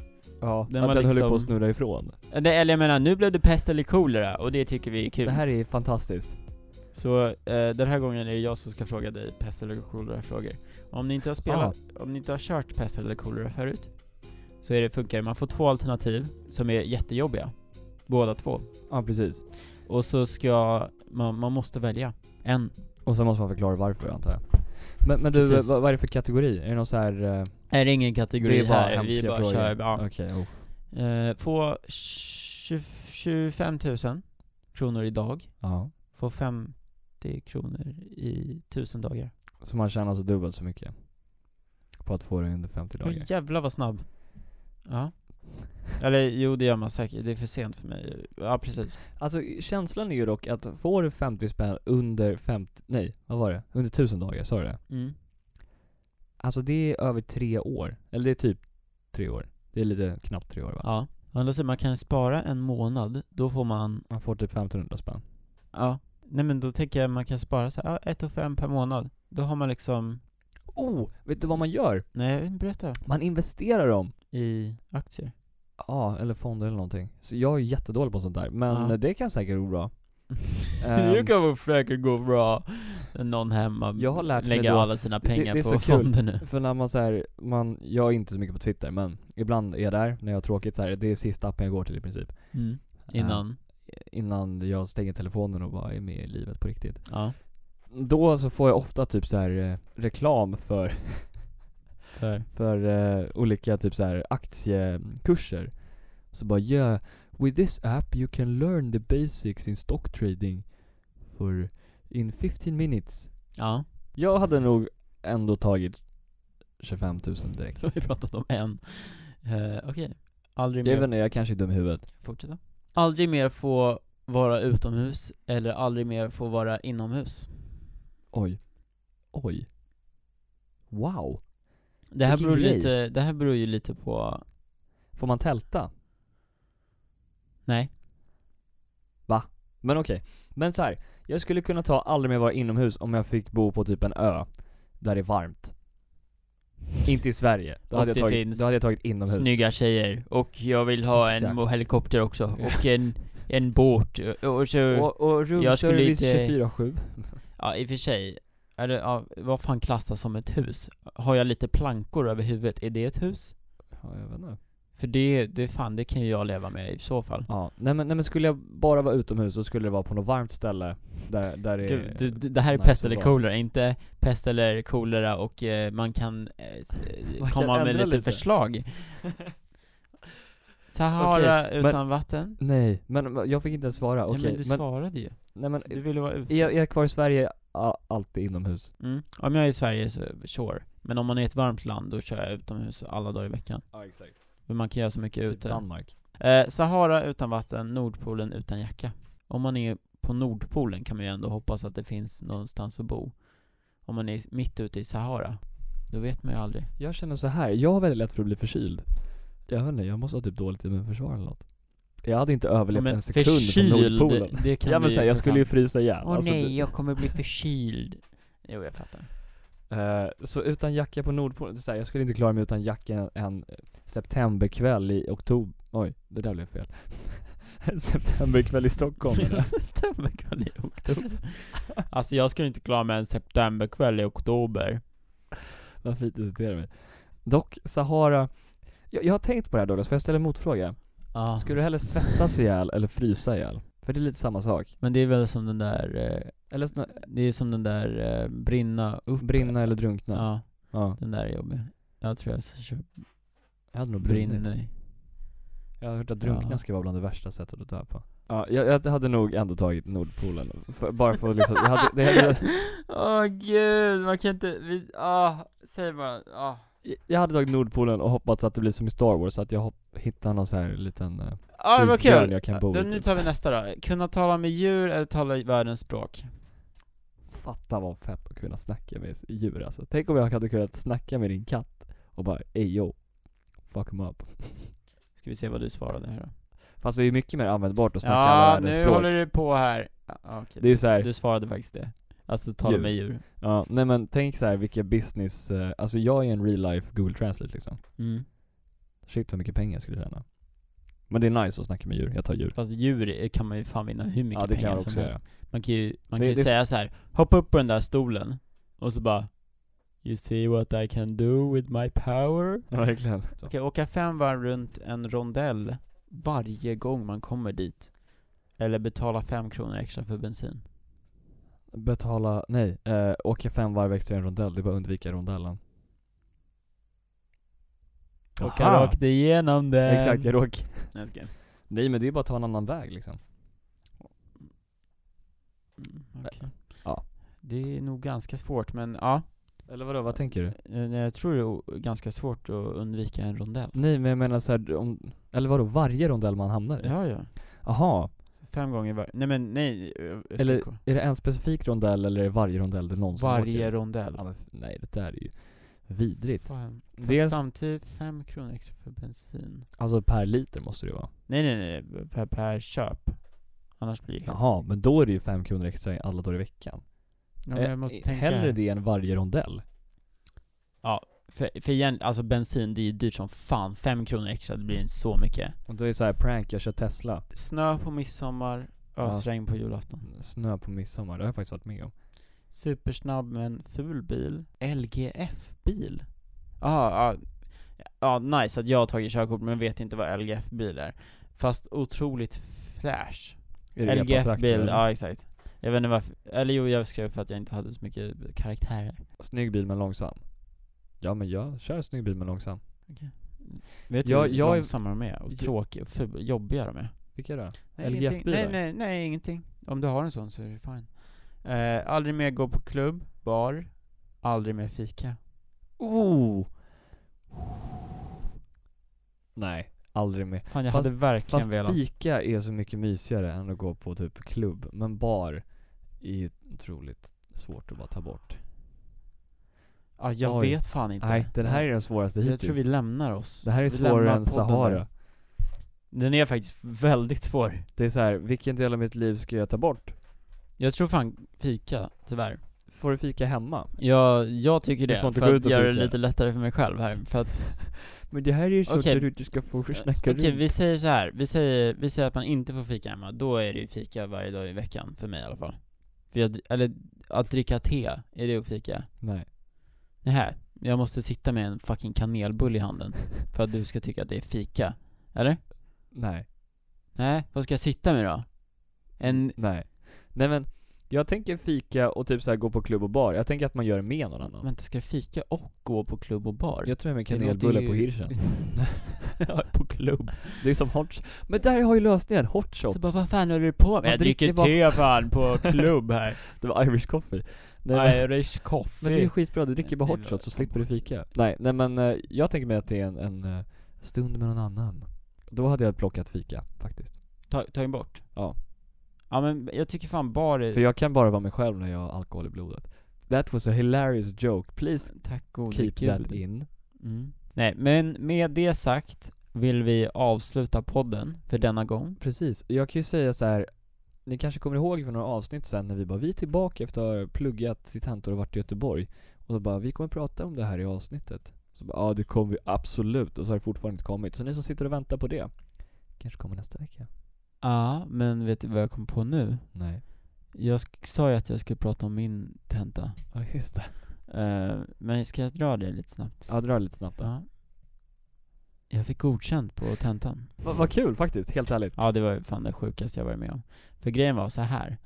[SPEAKER 2] Ja,
[SPEAKER 1] Den
[SPEAKER 2] den, att
[SPEAKER 1] var
[SPEAKER 2] den höll ju på att
[SPEAKER 1] liksom-
[SPEAKER 2] snurra ifrån.
[SPEAKER 1] Eller eller jag menar, nu blev det pest eller kolera och det tycker vi är kul.
[SPEAKER 2] Det här är fantastiskt.
[SPEAKER 1] Så eh, den här gången är det jag som ska fråga dig pest eller kolera-frågor. Om ni inte har spelat, om ni inte har kört pest eller kolera förut, så är det, funkar det. Man får två alternativ som är jättejobbiga. Båda två.
[SPEAKER 2] Ja, precis.
[SPEAKER 1] Och så ska man, man måste välja en.
[SPEAKER 2] Och sen måste man förklara varför antar jag. Men, men du,
[SPEAKER 1] Precis.
[SPEAKER 2] vad, vad är det för kategori? Är det någon så här... eh,
[SPEAKER 1] Är det ingen kategori
[SPEAKER 2] det är bara
[SPEAKER 1] här, vi
[SPEAKER 2] hemska
[SPEAKER 1] bara
[SPEAKER 2] frågor.
[SPEAKER 1] kör. Ja.
[SPEAKER 2] Okej, uff.
[SPEAKER 1] Eh, få 20, 25 000 kronor idag.
[SPEAKER 2] ja.
[SPEAKER 1] Få 50 kronor i 1000 dagar.
[SPEAKER 2] Så man tjänar alltså dubbelt så mycket. På att få det under 50
[SPEAKER 1] Åh
[SPEAKER 2] dagar.
[SPEAKER 1] jävlar vad snabb. Ja. Eller jo, det gör man säkert. Det är för sent för mig. Ja, precis.
[SPEAKER 2] Alltså känslan är ju dock att får du 50 spänn under 50, nej vad var det? Under 1000 dagar, sa du det?
[SPEAKER 1] Mm.
[SPEAKER 2] Alltså det är över tre år. Eller det är typ tre år. Det är lite knappt tre år va?
[SPEAKER 1] Ja. Å andra sidan, man kan spara en månad. Då får man...
[SPEAKER 2] Man får typ 1500 spänn.
[SPEAKER 1] Ja. Nej men då tänker jag man kan spara så här, ja, 1 5 per månad. Då har man liksom...
[SPEAKER 2] Oh! Vet du vad man gör?
[SPEAKER 1] Nej, jag vill inte berätta.
[SPEAKER 2] Man investerar dem.
[SPEAKER 1] I aktier.
[SPEAKER 2] Ja, eller fonder eller någonting. Så jag är jättedålig på sånt där. Men
[SPEAKER 1] Ja.
[SPEAKER 2] det kan säkert gå bra. Ehm,
[SPEAKER 1] det kan väl säkert gå bra. Ehm. Någon hemma
[SPEAKER 2] Jag har lärt mig
[SPEAKER 1] lägger
[SPEAKER 2] då-
[SPEAKER 1] alla sina
[SPEAKER 2] det-
[SPEAKER 1] pengar
[SPEAKER 2] det är
[SPEAKER 1] på
[SPEAKER 2] så kul.
[SPEAKER 1] fonden nu.
[SPEAKER 2] För när man så här, man, jag är inte så mycket på Twitter men ibland är jag där när jag har tråkigt så här, det är sista appen jag går till i princip.
[SPEAKER 1] Mm. Innan.
[SPEAKER 2] innan jag stänger telefonen och bara är med i livet på riktigt.
[SPEAKER 1] Ja.
[SPEAKER 2] Då så får jag ofta typ så här eh, reklam för,
[SPEAKER 1] För.
[SPEAKER 2] för eh, olika typ så här aktiekurser. Så bara yeah, with this app you can learn the basics in stock trading for in 15 minutes.
[SPEAKER 1] Ja.
[SPEAKER 2] Jag hade nog ändå tagit 25 000 direkt.
[SPEAKER 1] Då har vi pratat om en. Eh, Okej. Aldrig
[SPEAKER 2] Jag
[SPEAKER 1] mer
[SPEAKER 2] vet inte, jag kanske är dum i huvudet.
[SPEAKER 1] Fortsätta. Aldrig mer få vara utomhus eller aldrig mer få vara inomhus.
[SPEAKER 2] Oj. Oj. Wow.
[SPEAKER 1] Det här,
[SPEAKER 2] Vilken
[SPEAKER 1] beror,
[SPEAKER 2] grej.
[SPEAKER 1] lite, det här beror ju lite på...
[SPEAKER 2] Får man tälta?
[SPEAKER 1] Nej.
[SPEAKER 2] Men okej. Men så här, jag skulle kunna ta aldrig mer vara inomhus om jag fick bo på typ en ö där det är varmt. Inte i Sverige. Då,
[SPEAKER 1] Och
[SPEAKER 2] hade jag,
[SPEAKER 1] det
[SPEAKER 2] tagit,
[SPEAKER 1] finns
[SPEAKER 2] då hade jag tagit inomhus.
[SPEAKER 1] Snygga tjejer. Och jag vill ha en
[SPEAKER 2] Exakt.
[SPEAKER 1] mo- helikopter också. Och en, en båt. Och så...
[SPEAKER 2] Och, och
[SPEAKER 1] Jag skulle
[SPEAKER 2] roomservice
[SPEAKER 1] inte-
[SPEAKER 2] 24-7.
[SPEAKER 1] Ja, i och för sig. Är det, ja, vad fan klassas som ett hus? Har jag lite plankor över huvudet, är det ett hus?
[SPEAKER 2] Ja, jag vet inte.
[SPEAKER 1] För det, det fan, det kan ju jag leva med i så fall.
[SPEAKER 2] Ja, nej men, nej, men skulle jag bara vara utomhus så skulle det vara på något varmt ställe där, där det
[SPEAKER 1] Du,
[SPEAKER 2] är...
[SPEAKER 1] du, du, det här är
[SPEAKER 2] Eh, nice
[SPEAKER 1] pest
[SPEAKER 2] och
[SPEAKER 1] eller
[SPEAKER 2] bra.
[SPEAKER 1] kolera, inte pest eller kolera och eh, man kan eh, s- eh,
[SPEAKER 2] Man kan
[SPEAKER 1] komma med
[SPEAKER 2] ändra
[SPEAKER 1] lite,
[SPEAKER 2] lite.
[SPEAKER 1] förslag. Sahara
[SPEAKER 2] Okej, men-
[SPEAKER 1] utan vatten.
[SPEAKER 2] Nej, men men jag fick inte ens svara. Okej,
[SPEAKER 1] ja, men du
[SPEAKER 2] men, Eh,
[SPEAKER 1] svarade ju.
[SPEAKER 2] nej men
[SPEAKER 1] Du ville vara ute.
[SPEAKER 2] är jag, är jag kvar i Sverige, a- alltid inomhus.
[SPEAKER 1] Mm. Om jag är i Sverige så sure. Men om man är i ett varmt land då kör jag utomhus alla dagar i veckan.
[SPEAKER 2] Ja, exakt.
[SPEAKER 1] För man kan göra så mycket
[SPEAKER 2] Typ
[SPEAKER 1] ute.
[SPEAKER 2] Danmark.
[SPEAKER 1] Eh, Sahara utan vatten, Nordpolen utan jacka. Om man är på Nordpolen kan man ju ändå hoppas att det finns någonstans att bo. Om man är mitt ute i Sahara, då vet man ju aldrig.
[SPEAKER 2] Jag känner så här. jag har väldigt lätt för att bli förkyld. Jag vet inte, jag måste ha typ dåligt immunförsvar eller något. Jag hade inte överlevt en sekund på Nordpolen.
[SPEAKER 1] det kan
[SPEAKER 2] Ja men
[SPEAKER 1] vi
[SPEAKER 2] såhär, jag
[SPEAKER 1] för
[SPEAKER 2] skulle
[SPEAKER 1] fan-
[SPEAKER 2] ju frysa ihjäl.
[SPEAKER 1] Åh
[SPEAKER 2] alltså, det-
[SPEAKER 1] nej, jag kommer bli förkyld. Jo, jag fattar.
[SPEAKER 2] Eh, så utan jacka på Nordpolen, det är så här, jag skulle inte klara mig utan jacka en, en septemberkväll i oktober, oj, det där blev fel. en septemberkväll i Stockholm eller?
[SPEAKER 1] septemberkväll i oktober. alltså jag skulle inte klara mig en septemberkväll i oktober.
[SPEAKER 2] Vad fint du citerar mig. Dock, Sahara, jag, jag har tänkt på det här Douglas, får jag ställa en motfråga?
[SPEAKER 1] Ja.
[SPEAKER 2] Skulle du hellre svettas ihjäl eller frysa ihjäl? För det är lite samma sak.
[SPEAKER 1] Men det är väl som den där, eh,
[SPEAKER 2] Eller snö-
[SPEAKER 1] det är som den där eh, brinna upp.
[SPEAKER 2] brinna eller drunkna. Ja.
[SPEAKER 1] Ja, den där är jobbig. Jag tror jag ska köra
[SPEAKER 2] Jag hade nog brunnit.
[SPEAKER 1] brinna i.
[SPEAKER 2] Jag har hört att drunkna
[SPEAKER 1] Ja.
[SPEAKER 2] ska vara bland det värsta sättet att dö på. Ja, jag, jag hade nog ändå tagit Nordpolen. För, bara för att liksom, jag hade, det hade,
[SPEAKER 1] Åh gud, man kan inte, vi, ah, säg bara, ah.
[SPEAKER 2] Jag hade tagit Nordpolen och hoppats att det blir som i Star Wars, att jag hopp- hittar någon så här liten... eh,
[SPEAKER 1] Ja det var
[SPEAKER 2] Isbjörn
[SPEAKER 1] Ah, kul!
[SPEAKER 2] jag kan bo i,
[SPEAKER 1] Då, nu
[SPEAKER 2] typ.
[SPEAKER 1] tar vi nästa då. Kunna tala med djur eller tala i världens språk?
[SPEAKER 2] Fatta vad fett att kunna snacka med s- djur alltså. Tänk om jag hade kunnat snacka med din katt och bara ey yo, fuck 'em up.
[SPEAKER 1] Ska vi se vad du svarade här då.
[SPEAKER 2] Fast det är ju mycket mer användbart att snacka alla
[SPEAKER 1] Ja,
[SPEAKER 2] världens
[SPEAKER 1] nu
[SPEAKER 2] språk.
[SPEAKER 1] håller du på här. Ja, okej,
[SPEAKER 2] Det är ju
[SPEAKER 1] du-
[SPEAKER 2] så här-
[SPEAKER 1] Du svarade faktiskt det. Alltså tala
[SPEAKER 2] Djur.
[SPEAKER 1] med djur.
[SPEAKER 2] Ja, nej men tänk så här vilka business, eh, alltså jag är en real life Google Translate liksom.
[SPEAKER 1] Mm.
[SPEAKER 2] Shit vad mycket pengar jag skulle tjäna. Men det är nice att snacka med djur, jag tar djur.
[SPEAKER 1] Fast djur är- kan man ju fan vinna hur mycket
[SPEAKER 2] Ja det kan
[SPEAKER 1] pengar
[SPEAKER 2] jag
[SPEAKER 1] som
[SPEAKER 2] också
[SPEAKER 1] helst.
[SPEAKER 2] göra.
[SPEAKER 1] Man kan ju, man
[SPEAKER 2] Det-
[SPEAKER 1] kan ju
[SPEAKER 2] det är så-
[SPEAKER 1] säga så här. hoppa upp på den där stolen, och så bara You see what I can do with my power?
[SPEAKER 2] Ja, verkligen.
[SPEAKER 1] Okej, åka fem varv runt en rondell varje gång man kommer dit. Eller betala fem kronor extra för bensin.
[SPEAKER 2] Betala, nej, eh, åka fem varv extra i en rondell, det är bara att undvika rondellen.
[SPEAKER 1] Åka
[SPEAKER 2] Aha.
[SPEAKER 1] rakt igenom den.
[SPEAKER 2] Exakt, jag råk.
[SPEAKER 1] Nej, jag skojar.
[SPEAKER 2] Nej men det är bara att ta en annan väg liksom.
[SPEAKER 1] Mm, okej.
[SPEAKER 2] Ja.
[SPEAKER 1] Det är nog ganska svårt, men ja.
[SPEAKER 2] Eller vadå, vad tänker du?
[SPEAKER 1] Eh, nej, Jag tror det är o- ganska svårt att undvika en rondell.
[SPEAKER 2] Nej men jag menar såhär, om, eller vadå, varje rondell man hamnar i?
[SPEAKER 1] Ja, ja.
[SPEAKER 2] Aha,
[SPEAKER 1] Fem gånger varje. Nej men nej. eh, jag ska
[SPEAKER 2] eller
[SPEAKER 1] kolla.
[SPEAKER 2] är det en specifik rondell eller är det varje rondell du någonsin
[SPEAKER 1] Varje
[SPEAKER 2] åker?
[SPEAKER 1] rondell.
[SPEAKER 2] Ja, men, f- nej det där är ju vidrigt.
[SPEAKER 1] Fan. Fast
[SPEAKER 2] Dels-
[SPEAKER 1] samtidigt fem kronor extra för bensin.
[SPEAKER 2] Alltså per liter måste det ju vara.
[SPEAKER 1] Nej nej nej, per, per köp. Annars blir det
[SPEAKER 2] Jaha, men då är det ju fem kronor extra i alla dagar i veckan.
[SPEAKER 1] ja, men jag
[SPEAKER 2] Eh,
[SPEAKER 1] måste
[SPEAKER 2] eh,
[SPEAKER 1] tänka.
[SPEAKER 2] Hellre det än varje rondell.
[SPEAKER 1] För, för igen, alltså bensin det är ju dyrt som fan. Fem kronor extra, det blir inte så mycket.
[SPEAKER 2] Och då är det så här prank, jag kör Tesla.
[SPEAKER 1] Snö på midsommar,
[SPEAKER 2] Ja.
[SPEAKER 1] ösregn på julafton.
[SPEAKER 2] Snö på midsommar, det har jag faktiskt varit med om.
[SPEAKER 1] Supersnabb men ful bil. LGF-bil. Ja, ah, ah, nice att jag har tagit körkort men vet inte vad LGF-bil är. Fast otroligt fräsch.
[SPEAKER 2] Är det epatraktor,
[SPEAKER 1] LGF-bil,
[SPEAKER 2] eller?
[SPEAKER 1] ja exakt. Jag vet inte varför, eller jo jag skrev för att jag inte hade så mycket karaktärer.
[SPEAKER 2] Snygg bil men långsam. Ja men jag kör snygg bil men långsam.
[SPEAKER 1] Vet
[SPEAKER 2] Jag-
[SPEAKER 1] du hur
[SPEAKER 2] jag är-
[SPEAKER 1] långsamma de är? Och
[SPEAKER 2] Jag-
[SPEAKER 1] tråkiga och ful, jobbiga de är.
[SPEAKER 2] Vilka är det?
[SPEAKER 1] Nej,
[SPEAKER 2] LGF
[SPEAKER 1] ingenting. nej,
[SPEAKER 2] bilar?
[SPEAKER 1] nej, nej, ingenting. Om du har en sån så är det fine. Eh, aldrig mer gå på klubb, bar, aldrig mer fika.
[SPEAKER 2] Oh! Nej, aldrig mer.
[SPEAKER 1] Fan jag
[SPEAKER 2] Fast-
[SPEAKER 1] hade verkligen
[SPEAKER 2] Fast
[SPEAKER 1] velat.
[SPEAKER 2] fika är så mycket mysigare än att gå på typ klubb, men bar är ju otroligt svårt att bara ta bort.
[SPEAKER 1] Ja, jag
[SPEAKER 2] Oj.
[SPEAKER 1] vet fan inte.
[SPEAKER 2] Nej, den här är den svåraste
[SPEAKER 1] Jag
[SPEAKER 2] hittills.
[SPEAKER 1] tror vi lämnar oss.
[SPEAKER 2] det här är
[SPEAKER 1] vi
[SPEAKER 2] svårare
[SPEAKER 1] lämnar
[SPEAKER 2] än
[SPEAKER 1] podden
[SPEAKER 2] Sahara.
[SPEAKER 1] där. Den är faktiskt väldigt svår.
[SPEAKER 2] Det är så här, vilken del av mitt liv ska jag ta bort?
[SPEAKER 1] Jag tror fan fika, tyvärr.
[SPEAKER 2] Får du fika hemma?
[SPEAKER 1] Jag, jag tycker
[SPEAKER 2] Du
[SPEAKER 1] det,
[SPEAKER 2] får inte
[SPEAKER 1] för
[SPEAKER 2] gå
[SPEAKER 1] att
[SPEAKER 2] ut och
[SPEAKER 1] göra det
[SPEAKER 2] fika.
[SPEAKER 1] lite lättare för mig själv här. För att,
[SPEAKER 2] Men det här är ju
[SPEAKER 1] sånt Okej. där du
[SPEAKER 2] inte ska få
[SPEAKER 1] okej vi säger så här. Vi säger, vi säger att man inte får fika hemma, då är det ju fika varje dag i veckan, för mig i alla fall. För jag, dri- eller att dricka te, är det att fika?
[SPEAKER 2] Nej.
[SPEAKER 1] Nähä, jag måste sitta med en fucking kanelbulle i handen för att du ska tycka att det är fika. Eller?
[SPEAKER 2] Nej.
[SPEAKER 1] Nej, vad ska jag sitta med då? En...
[SPEAKER 2] Nej. Nej men, jag tänker fika och typ så här gå på klubb och bar. Jag tänker att man gör det med någon annan.
[SPEAKER 1] Vänta, ska jag fika och gå på klubb och bar?
[SPEAKER 2] Jag tror jag med
[SPEAKER 1] Det låter
[SPEAKER 2] kanelbulle
[SPEAKER 1] ju-
[SPEAKER 2] på hirschen.
[SPEAKER 1] Ja, på klubb.
[SPEAKER 2] Det är som hot Men där har ju lösningen, hot shots.
[SPEAKER 1] Så bara, vad fan håller du på med?
[SPEAKER 2] Man dricker bara-
[SPEAKER 1] fan på klubb här.
[SPEAKER 2] Det var Irish coffee. Nej, men-
[SPEAKER 1] Irish coffee.
[SPEAKER 2] men det är ju skitbra, du dricker bara
[SPEAKER 1] Det
[SPEAKER 2] hot
[SPEAKER 1] var-
[SPEAKER 2] shots så slipper du fika. Nej, nej men eh, jag tänker mig att det är en, en eh, stund med någon annan. Då hade jag plockat fika faktiskt.
[SPEAKER 1] Ta, ta in bort?
[SPEAKER 2] Ja.
[SPEAKER 1] Ja men jag tycker fan bar är...
[SPEAKER 2] För jag kan bara vara mig själv när jag har alkohol i blodet. That was a hilarious joke, please
[SPEAKER 1] Tack gode
[SPEAKER 2] keep
[SPEAKER 1] gud.
[SPEAKER 2] that in.
[SPEAKER 1] Mm. Nej, men med det sagt vill vi avsluta podden för denna gång.
[SPEAKER 2] Precis, jag kan ju säga så här. Ni kanske kommer ihåg från några avsnitt sen när vi bara, vi är tillbaka efter att ha pluggat till tentor och varit i Göteborg. Och så bara, vi kommer prata om det här i avsnittet. Så bara, ja det kommer vi absolut. Och så har det fortfarande inte kommit. Så ni som sitter och väntar på det, kanske kommer nästa vecka.
[SPEAKER 1] Ja, men vet du vad jag kom på nu?
[SPEAKER 2] Nej.
[SPEAKER 1] Jag sk- sa ju att jag skulle prata om min tenta.
[SPEAKER 2] Ja just det.
[SPEAKER 1] Eh, men ska jag dra det lite snabbt?
[SPEAKER 2] Ja dra lite snabbt då.
[SPEAKER 1] Ja. Jag fick godkänt på tentan.
[SPEAKER 2] Vad vad kul faktiskt, helt ärligt.
[SPEAKER 1] Ja, det var ju fan det sjukaste jag varit med om. För grejen var så här.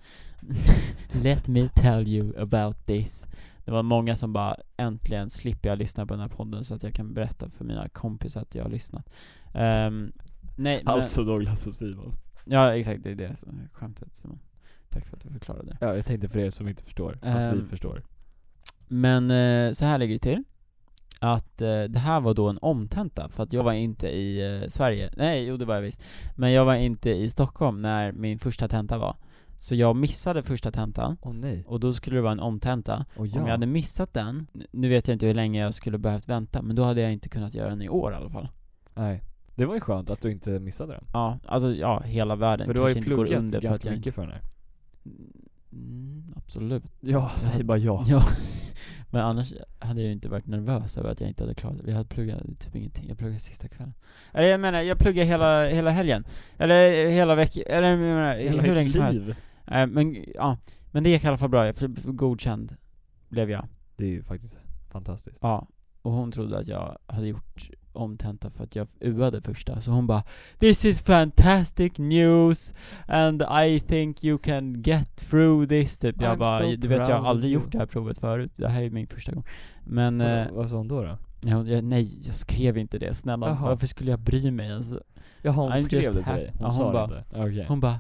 [SPEAKER 1] Let me tell you about this. Det var många som bara äntligen slipper jag lyssna på den här podden så att jag kan berätta för mina kompisar att jag har lyssnat. Ehm, nej, men,
[SPEAKER 2] Alltså Douglas och Simon.
[SPEAKER 1] ja exakt det är det som är skämtet Simon. Tack för att du förklarade.
[SPEAKER 2] Ja, jag tänkte för er som inte förstår, att vi
[SPEAKER 1] Ehm.
[SPEAKER 2] förstår.
[SPEAKER 1] Men eh, så här ligger det till. Att eh, det här var då en omtenta, för att jag var inte i eh, Sverige. Nej, jo det var jag visst. Men jag var inte i Stockholm när min första tenta var. Så jag missade första tentan.
[SPEAKER 2] Åh nej.
[SPEAKER 1] Och då skulle det vara en omtenta.
[SPEAKER 2] Och
[SPEAKER 1] Om jag hade missat den, n- nu vet jag inte hur länge jag skulle behövt vänta, men då hade jag inte kunnat göra den i år i alla fall.
[SPEAKER 2] Nej. Det var ju skönt att du inte missade den.
[SPEAKER 1] Ja, alltså ja, hela världen
[SPEAKER 2] för du har ju
[SPEAKER 1] kanske inte går
[SPEAKER 2] pluggat
[SPEAKER 1] under för att
[SPEAKER 2] ganska
[SPEAKER 1] jag
[SPEAKER 2] mycket
[SPEAKER 1] inte...
[SPEAKER 2] för den här.
[SPEAKER 1] Mm, absolut.
[SPEAKER 2] Ja, säg bara ja.
[SPEAKER 1] Ja. Men annars hade jag ju inte varit nervös över att jag inte hade klarat det. Vi hade pluggat typ ingenting. Jag pluggade sista kvällen. Eller jag menar, jag pluggade hela, hela helgen. Eller hela veckan. Eller jag menar,
[SPEAKER 2] Hela
[SPEAKER 1] hur
[SPEAKER 2] ditt
[SPEAKER 1] länge som helst.
[SPEAKER 2] liv.
[SPEAKER 1] Eh, Men ja, men det gick i alla fall bra. Jag blev godkänd blev jag.
[SPEAKER 2] Det är ju faktiskt fantastiskt.
[SPEAKER 1] Ja, och hon trodde att jag hade gjort om tenta för att jag uade första, så hon bara 'This is fantastic news and I think you can get through this' typ Jag
[SPEAKER 2] I'm
[SPEAKER 1] bara,
[SPEAKER 2] so
[SPEAKER 1] du vet jag
[SPEAKER 2] proud of
[SPEAKER 1] har aldrig
[SPEAKER 2] you."
[SPEAKER 1] gjort det här provet förut, det här är min första gång Men,
[SPEAKER 2] Vadå,
[SPEAKER 1] eh,
[SPEAKER 2] vad sa hon då då?
[SPEAKER 1] nej, hon- jag, nej jag skrev inte det, snälla
[SPEAKER 2] Jaha.
[SPEAKER 1] varför skulle jag bry mig ens?
[SPEAKER 2] Jaha, hon
[SPEAKER 1] I'm
[SPEAKER 2] skrev
[SPEAKER 1] just
[SPEAKER 2] det till
[SPEAKER 1] happy.
[SPEAKER 2] dig?
[SPEAKER 1] Ja,
[SPEAKER 2] Hon
[SPEAKER 1] hon
[SPEAKER 2] sa
[SPEAKER 1] bara-
[SPEAKER 2] det inte? Okej.
[SPEAKER 1] Hon bara,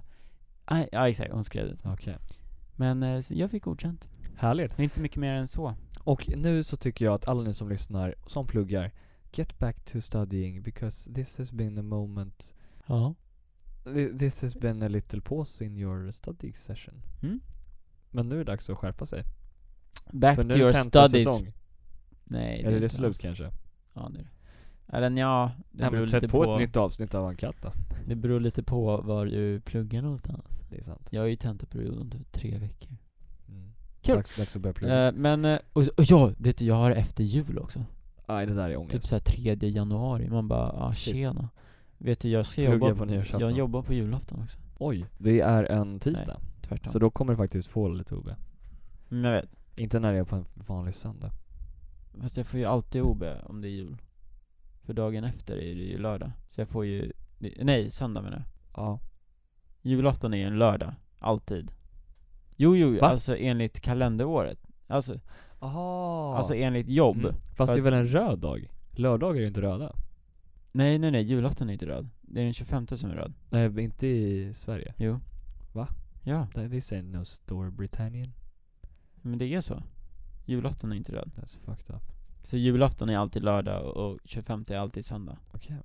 [SPEAKER 1] "Aj, ja exakt, hon skrev det
[SPEAKER 2] Okej.
[SPEAKER 1] Men eh, så jag fick godkänt,
[SPEAKER 2] Härligt.
[SPEAKER 1] det är inte mycket mer än så
[SPEAKER 2] Och nu så tycker jag att alla ni som lyssnar, som pluggar, get back to studying because this has been a moment
[SPEAKER 1] Ja
[SPEAKER 2] Thi- This has been a little pause in your study session.
[SPEAKER 1] Mm.
[SPEAKER 2] Men nu är det dags att skärpa sig.
[SPEAKER 1] Back
[SPEAKER 2] För nu
[SPEAKER 1] to
[SPEAKER 2] är
[SPEAKER 1] your
[SPEAKER 2] det
[SPEAKER 1] studies
[SPEAKER 2] tentasäsong.
[SPEAKER 1] Nej
[SPEAKER 2] Eller är det
[SPEAKER 1] inte
[SPEAKER 2] slut
[SPEAKER 1] alls.
[SPEAKER 2] kanske?
[SPEAKER 1] Ja det är det. Eller nja, det beror
[SPEAKER 2] Nej, men
[SPEAKER 1] lite
[SPEAKER 2] sätt
[SPEAKER 1] på, Mm.
[SPEAKER 2] på ett nytt avsnitt av Ankatta.
[SPEAKER 1] det beror lite på var du pluggar någonstans.
[SPEAKER 2] Det är sant.
[SPEAKER 1] Jag har ju tentaperiod om typ tre veckor.
[SPEAKER 2] Mm.
[SPEAKER 1] Kul.
[SPEAKER 2] Dags, dags att börja plugga.
[SPEAKER 1] Eh, men, eh, och, och ja, vet du, jag har efter jul också.
[SPEAKER 2] Nej det där är ångest.
[SPEAKER 1] Typ såhär 3 januari, man bara ah,
[SPEAKER 2] Shit.
[SPEAKER 1] tjena. Vet du jag ska
[SPEAKER 2] Plugga
[SPEAKER 1] jobba
[SPEAKER 2] på nyårsafton.
[SPEAKER 1] Jag jobbar på julafton också.
[SPEAKER 2] Oj, det är en tisdag.
[SPEAKER 1] Tvärtom.
[SPEAKER 2] så då kommer du faktiskt få lite OB.
[SPEAKER 1] Men jag vet.
[SPEAKER 2] Inte när det är på en vanlig söndag.
[SPEAKER 1] Fast jag får ju alltid OB om det är jul. För dagen efter är det ju lördag. Så jag får ju, nej söndag menar jag.
[SPEAKER 2] Ja.
[SPEAKER 1] Julafton är ju en lördag, alltid. Jo, jo,
[SPEAKER 2] Va?
[SPEAKER 1] alltså enligt kalenderåret. Alltså,
[SPEAKER 2] Aha.
[SPEAKER 1] alltså enligt jobb.
[SPEAKER 2] Mm. Fast
[SPEAKER 1] För
[SPEAKER 2] det är
[SPEAKER 1] att-
[SPEAKER 2] väl en röd dag? Lördagar är ju inte röda.
[SPEAKER 1] Nej, nej, nej, julafton är inte röd. Det är den 25 som är röd.
[SPEAKER 2] Nej, inte i Sverige.
[SPEAKER 1] Jo.
[SPEAKER 2] Va?
[SPEAKER 1] Ja,
[SPEAKER 2] This ain't no store Britannian.
[SPEAKER 1] men det är så. Julafton är inte röd.
[SPEAKER 2] That's fucked up.
[SPEAKER 1] Så julafton är alltid lördag och och 25 är alltid söndag.
[SPEAKER 2] Okej.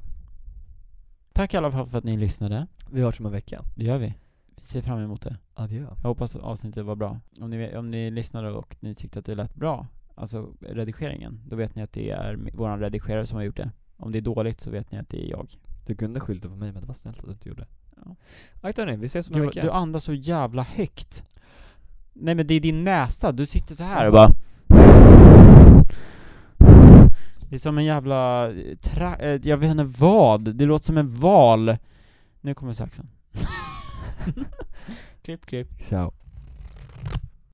[SPEAKER 1] Tack i alla fall för att ni lyssnade.
[SPEAKER 2] Vi hörs om en vecka.
[SPEAKER 1] Det gör vi. Vi ser fram emot det.
[SPEAKER 2] Adjö.
[SPEAKER 1] Jag hoppas att avsnittet var bra. Om ni, om ni lyssnade och ni tyckte att det lät bra, alltså redigeringen, då vet ni att det är m- våran redigerare som har gjort det. Om det är dåligt så vet ni att det är jag.
[SPEAKER 2] Du kunde skylta på mig men det var snällt att du inte gjorde.
[SPEAKER 1] Ja.
[SPEAKER 2] Akta hörni, vi ses om en
[SPEAKER 1] Du,
[SPEAKER 2] vecka.
[SPEAKER 1] du andas så jävla högt. Nej men det är din näsa, du sitter så här
[SPEAKER 2] Ja.
[SPEAKER 1] och bara Det är som en jävla eh, tra- eh, jag vet inte vad, det låter som en val. Nu kommer saxen. klipp, klipp.
[SPEAKER 2] Ciao.